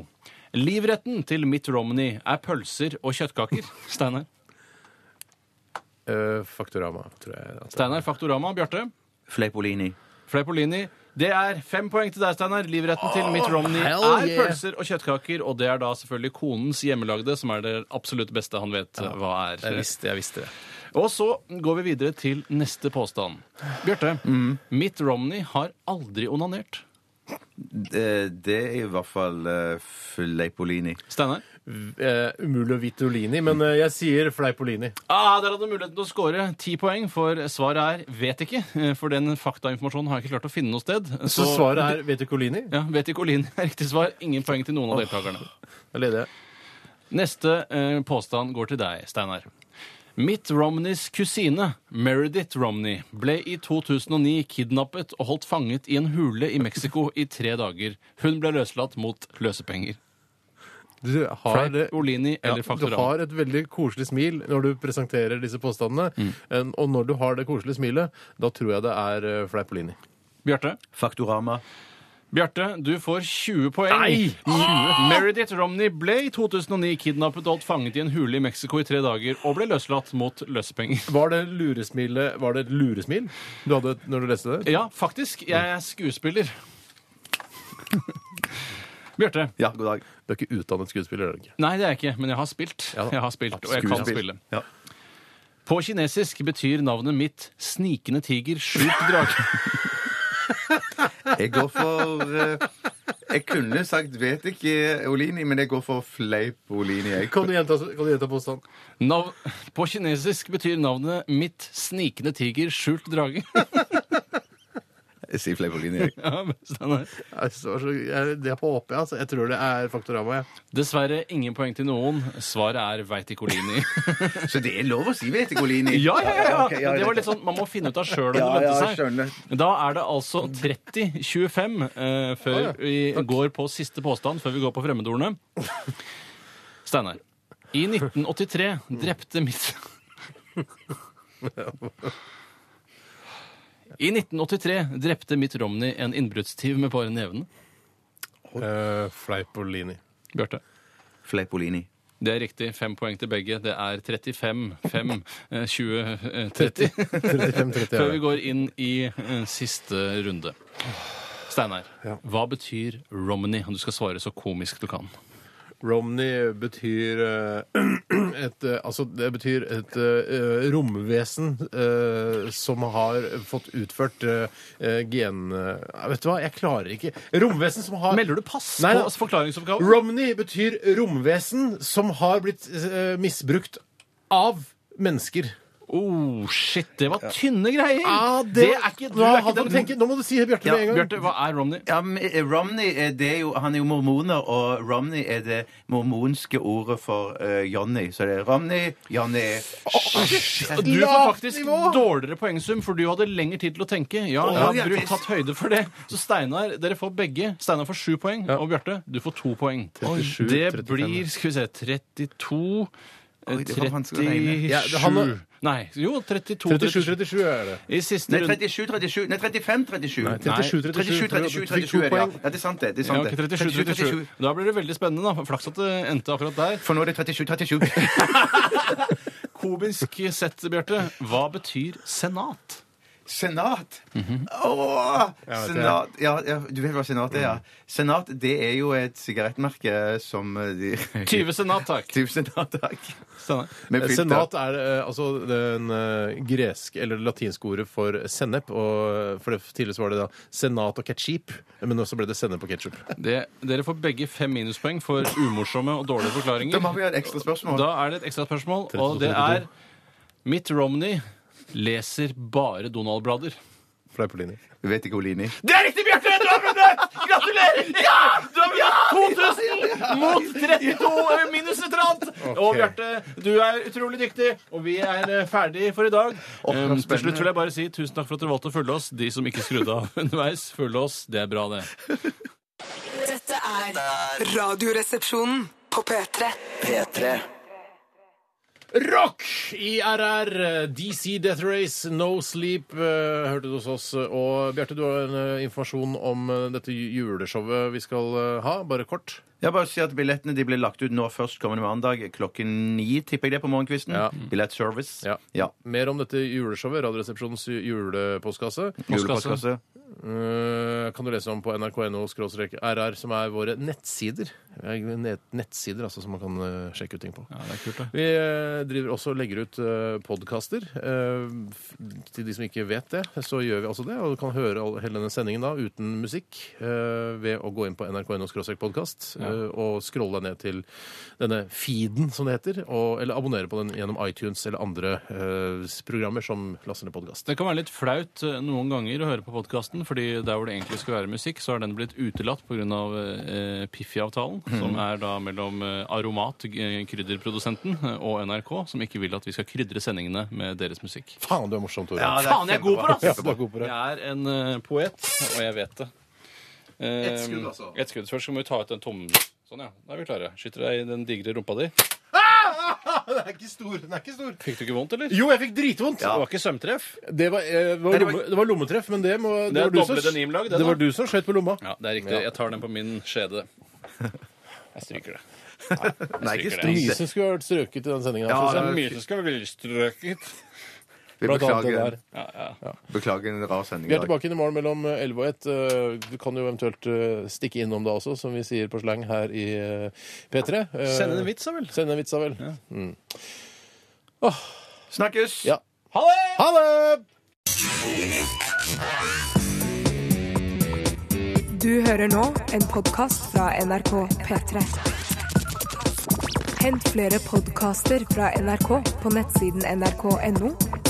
Livretten til Mitt Romney er pølser og kjøttkaker. Steinar. Eh, Faktorama, tror jeg. Altså, at det er. Steinar Faktorama. Bjarte. Fleipolini. Fleipolini. Det er fem poeng til deg, Steinar. Livretten til Mitt Romney er hell yeah. pølser og kjøttkaker, og det er da selvfølgelig konens hjemmelagde, som er det absolutt beste han vet eh, hva er. Jeg visste, jeg visste det. Og så går vi videre til neste påstand. Bjarte. Mitt Romney har aldri onanert. Eh, Det er i hvert fall eh, Fleipolini. Steinar. Eh, umulig å vite Olini, men eh, jeg sier Fleipolini. Ah, der hadde du muligheten til å score ti poeng, for svaret er vet ikke. eh, For den faktainformasjonen har jeg ikke klart å finne noe sted. Så svaret er vet du ikke Olini? ja, Vet ikke Olin er riktig svar. Ingen poeng til noen av deltakerne. Da leder jeg. Neste eh, påstand går til deg, Steinar. Mitt Romneys kusine, Meredith Romney, ble i 2009 kidnappet og holdt fanget i en hule i Mexico i tre dager. Hun ble løslatt mot løsepenger. Du har, Fleip, Olini eller ja, du Faktorama? har et veldig koselig smil når du Mm. presenterer disse påstandene. En- Og når du har det koselige smilet, da tror jeg det er eh, Fleipolini. Bjarte? Faktorama. Bjarte, du får 20 poeng. Nei! Ah! 20. Meredith Romney ble i 2009 kidnappet og holdt fanget i en hule i Mexico i tre dager og ble løslatt mot løsepenger. Var det luresmilet Var det et luresmil du hadde når du leste det? Ja, faktisk. Jeg er skuespiller. Bjarte. Ja, god dag. Du er ikke utdannet skuespiller, er du ikke? Nei, det er jeg ikke, men jeg har spilt. Ja da. Jeg har spilt, Og jeg kan Skuespill. spille. Ja. På kinesisk betyr navnet mitt 'snikende tiger, skjult drage'. Jeg går for eh, Jeg kunne sagt 'vet ikke Olini', men jeg går for fleip Olini. Jeg. Kan du gjenta, kan du gjenta påstanden? Nav på kinesisk betyr navnet mitt 'snikende tiger, skjult drage'. jeg sier fleip Olini, jeg. Ja, men Steinar. Altså, jeg- Det håper jeg, altså. Jeg tror det er Faktorama, jeg. Dessverre ingen poeng til noen. Svaret er veit ikke Olini. Så det er lov å si 'vet ikke Olini'? Ja, ja, ja! ok, ja, det var greit. litt sånn, Man må finne ut av sjøl om det Ja, ja, jeg lønte skjønner. seg. Da er det altså 30-25 eh, før ja. vi går på siste påstand, før vi går på fremmedordene. Steinar. I 1983 drepte mitt I 1983 drepte Mitt Romney en innbruddstyv med bare nevene. Uh, Fleipolini. Bjarte. Fleip Olini. Det er riktig. Fem poeng til begge. Det er 35, 5, eh, 20, eh, 30. 35-30 Før er vi det. går inn i eh, siste runde. Steinar, hva betyr Romney? Du skal svare så komisk du kan. Romney betyr eh, et eh, Altså, det betyr et eh, romvesen eh, som har fått utført eh, eh, gen... eh, Vet du hva, jeg klarer ikke Romvesen som har Melder du pass Nei, på da. altså, forklaringsoppgaven? Romney betyr romvesen som har blitt eh, misbrukt av mennesker. Oh, shit, det var tynne greier! Ah, er ikke, du nå, er ikke hadde du den- tenkt- nå må du si Bjarte med en gang. Bjarte, hva er Romney? Ja, men eh, Romney er det jo, han er jo mormoner, og Romney er det mormonske ordet for eh, Johnny. Så det er Romney, Johnny Og Du får Lavt faktisk nivå! dårligere poengsum, for du hadde lengre tid til å tenke. Ja, jeg ja, har brukt, visst. tatt høyde for det. Så Steinar, dere får begge. Steinar får sju poeng, og Bjarte, du får to poeng. 37, det 35. blir skal vi se, 32 eh, det var vanskelig å regne. 37 Ja, det- han har- Nei, jo, 32. 37. 37-37 er det. I siste Nei, runde 37, 37 Nei, 35, 37. Nei, 37, 37, 37, 37 er det, ja. ja. Det er sant, det. det, er ja, sant, ok, det. 37, 37. Da blir det veldig spennende. da. Flaks at det endte akkurat der. For nå er det 37, 37. Komisk sett, Bjarte. Hva betyr senat? Senat! Åh, vet senat. Ja, ja, du vet hva senat er, ja. Senat det er jo et sigarettmerke som eh, de 20 senat, takk. 20 senat, takk. Steinar. Med filter. Senat er eh, altså den eh, greske eller det latinske ordet for sennep. Og for det, tidligere så var det da senat og ketsjup, men også ble det sennep og ketsjup. Det, dere får begge fem minuspoeng for umorsomme og dårlige forklaringer. Da må vi ha et ekstra spørsmål. Da er det et ekstra spørsmål, og det er Mitt Romney leser bare Donald-blader. Fleipolini. Vet ikke Olini. Det er riktig, Bjarte! Du har vunnet! Gratulerer! Ja! Du har vunnet 2000 mot 32 minus et eller annet. Og Bjarte, du er utrolig dyktig, og vi er eh, ferdig for i dag. Um, til spennende. slutt vil jeg bare si tusen takk for at dere valgte å følge oss. De som ikke skrudde av underveis, følg oss. Det er bra, det. Dette er Radioresepsjonen på P3. P3 Rock i RR! DC Death Race, No Sleep, eh, hørte du hos oss. Og Bjarte, du har en eh, informasjon om eh, dette ju- juleshowet vi skal eh, ha, bare kort. Jeg bare sier at Billettene de blir lagt ut nå førstkommende mandag klokken ni, tipper jeg det, på morgenkvisten. Ja. Billettservice. Ja. Mer om dette juleshowet, Radioresepsjonens ju- julepostkasse. Julepostkasse. Eh, kan du lese om på nrk.no-rr, som er våre nettsider. Ja, Net nettsider, altså, som man kan eh, sjekke ut ting på. Ja, det er kult, det. Vi eh, driver også og legger ut uh, podkaster. Eh, f- til de som ikke vet det, så gjør vi altså det. Og du kan høre all, hele denne sendingen da uten musikk eh, ved å gå inn på nrk.no-podkast eh, og scrolle deg ned til denne feeden, som det heter. Og, eller abonnere på den gjennom iTunes eller andre eh, programmer som laster ned podkast. Det kan være litt flaut eh, noen ganger å høre på podkasten, fordi der hvor det egentlig skulle være musikk, så har den blitt utelatt pga. Eh, Piffi-avtalen, som er da mellom eh, Aromat, eh, krydderprodusenten, eh, og NRK, som ikke vil at vi skal krydre sendingene med deres musikk. Faen, du er morsom, Tore. Ja, det er Faen, jeg er god på det! Ja, ass! du er god på det. Jeg er en eh, poet, og jeg vet det. Eh, Ett skudd, altså. Et skudd. Først så må vi ta ut den tomme Sånn, ja. Da er vi klare. Skyter deg i den digre rumpa di. Den er ikke stor. Den er ikke stor. Fikk du ikke vondt, eller? Jo, jeg fikk dritvondt! Det var ikke sømtreff. Det, var, eh, var Nei, det var- lomme, det var lommetreff, men det, må, det, Det er var, du som, doble den imlag, det det da. var du som skjøt på lomma. Ja, det er riktig. Jeg tar den på min skjede. Jeg stryker det. Nei, ikke Mye stryker stryk det. som skulle vært strøket i den sendingen. Ja, synes Det jeg. er mye som skal bli strøket. Vi Blant annet det beklager, der. Ja, ja. beklager en rar sending. Vi i er dag. tilbake inn i morgen mellom 11 og 1. Eh, Du kan jo eventuelt eh, stikke innom da også, som vi sier på slang her i eh, P3. Eh, Send en vits, da vel. Send en vits, da vel. Snakkes! Ja. Ha det! Ha det! Du hører nå en podkast fra NRK P3. Hent flere podkaster fra NRK på nettsiden nrk.no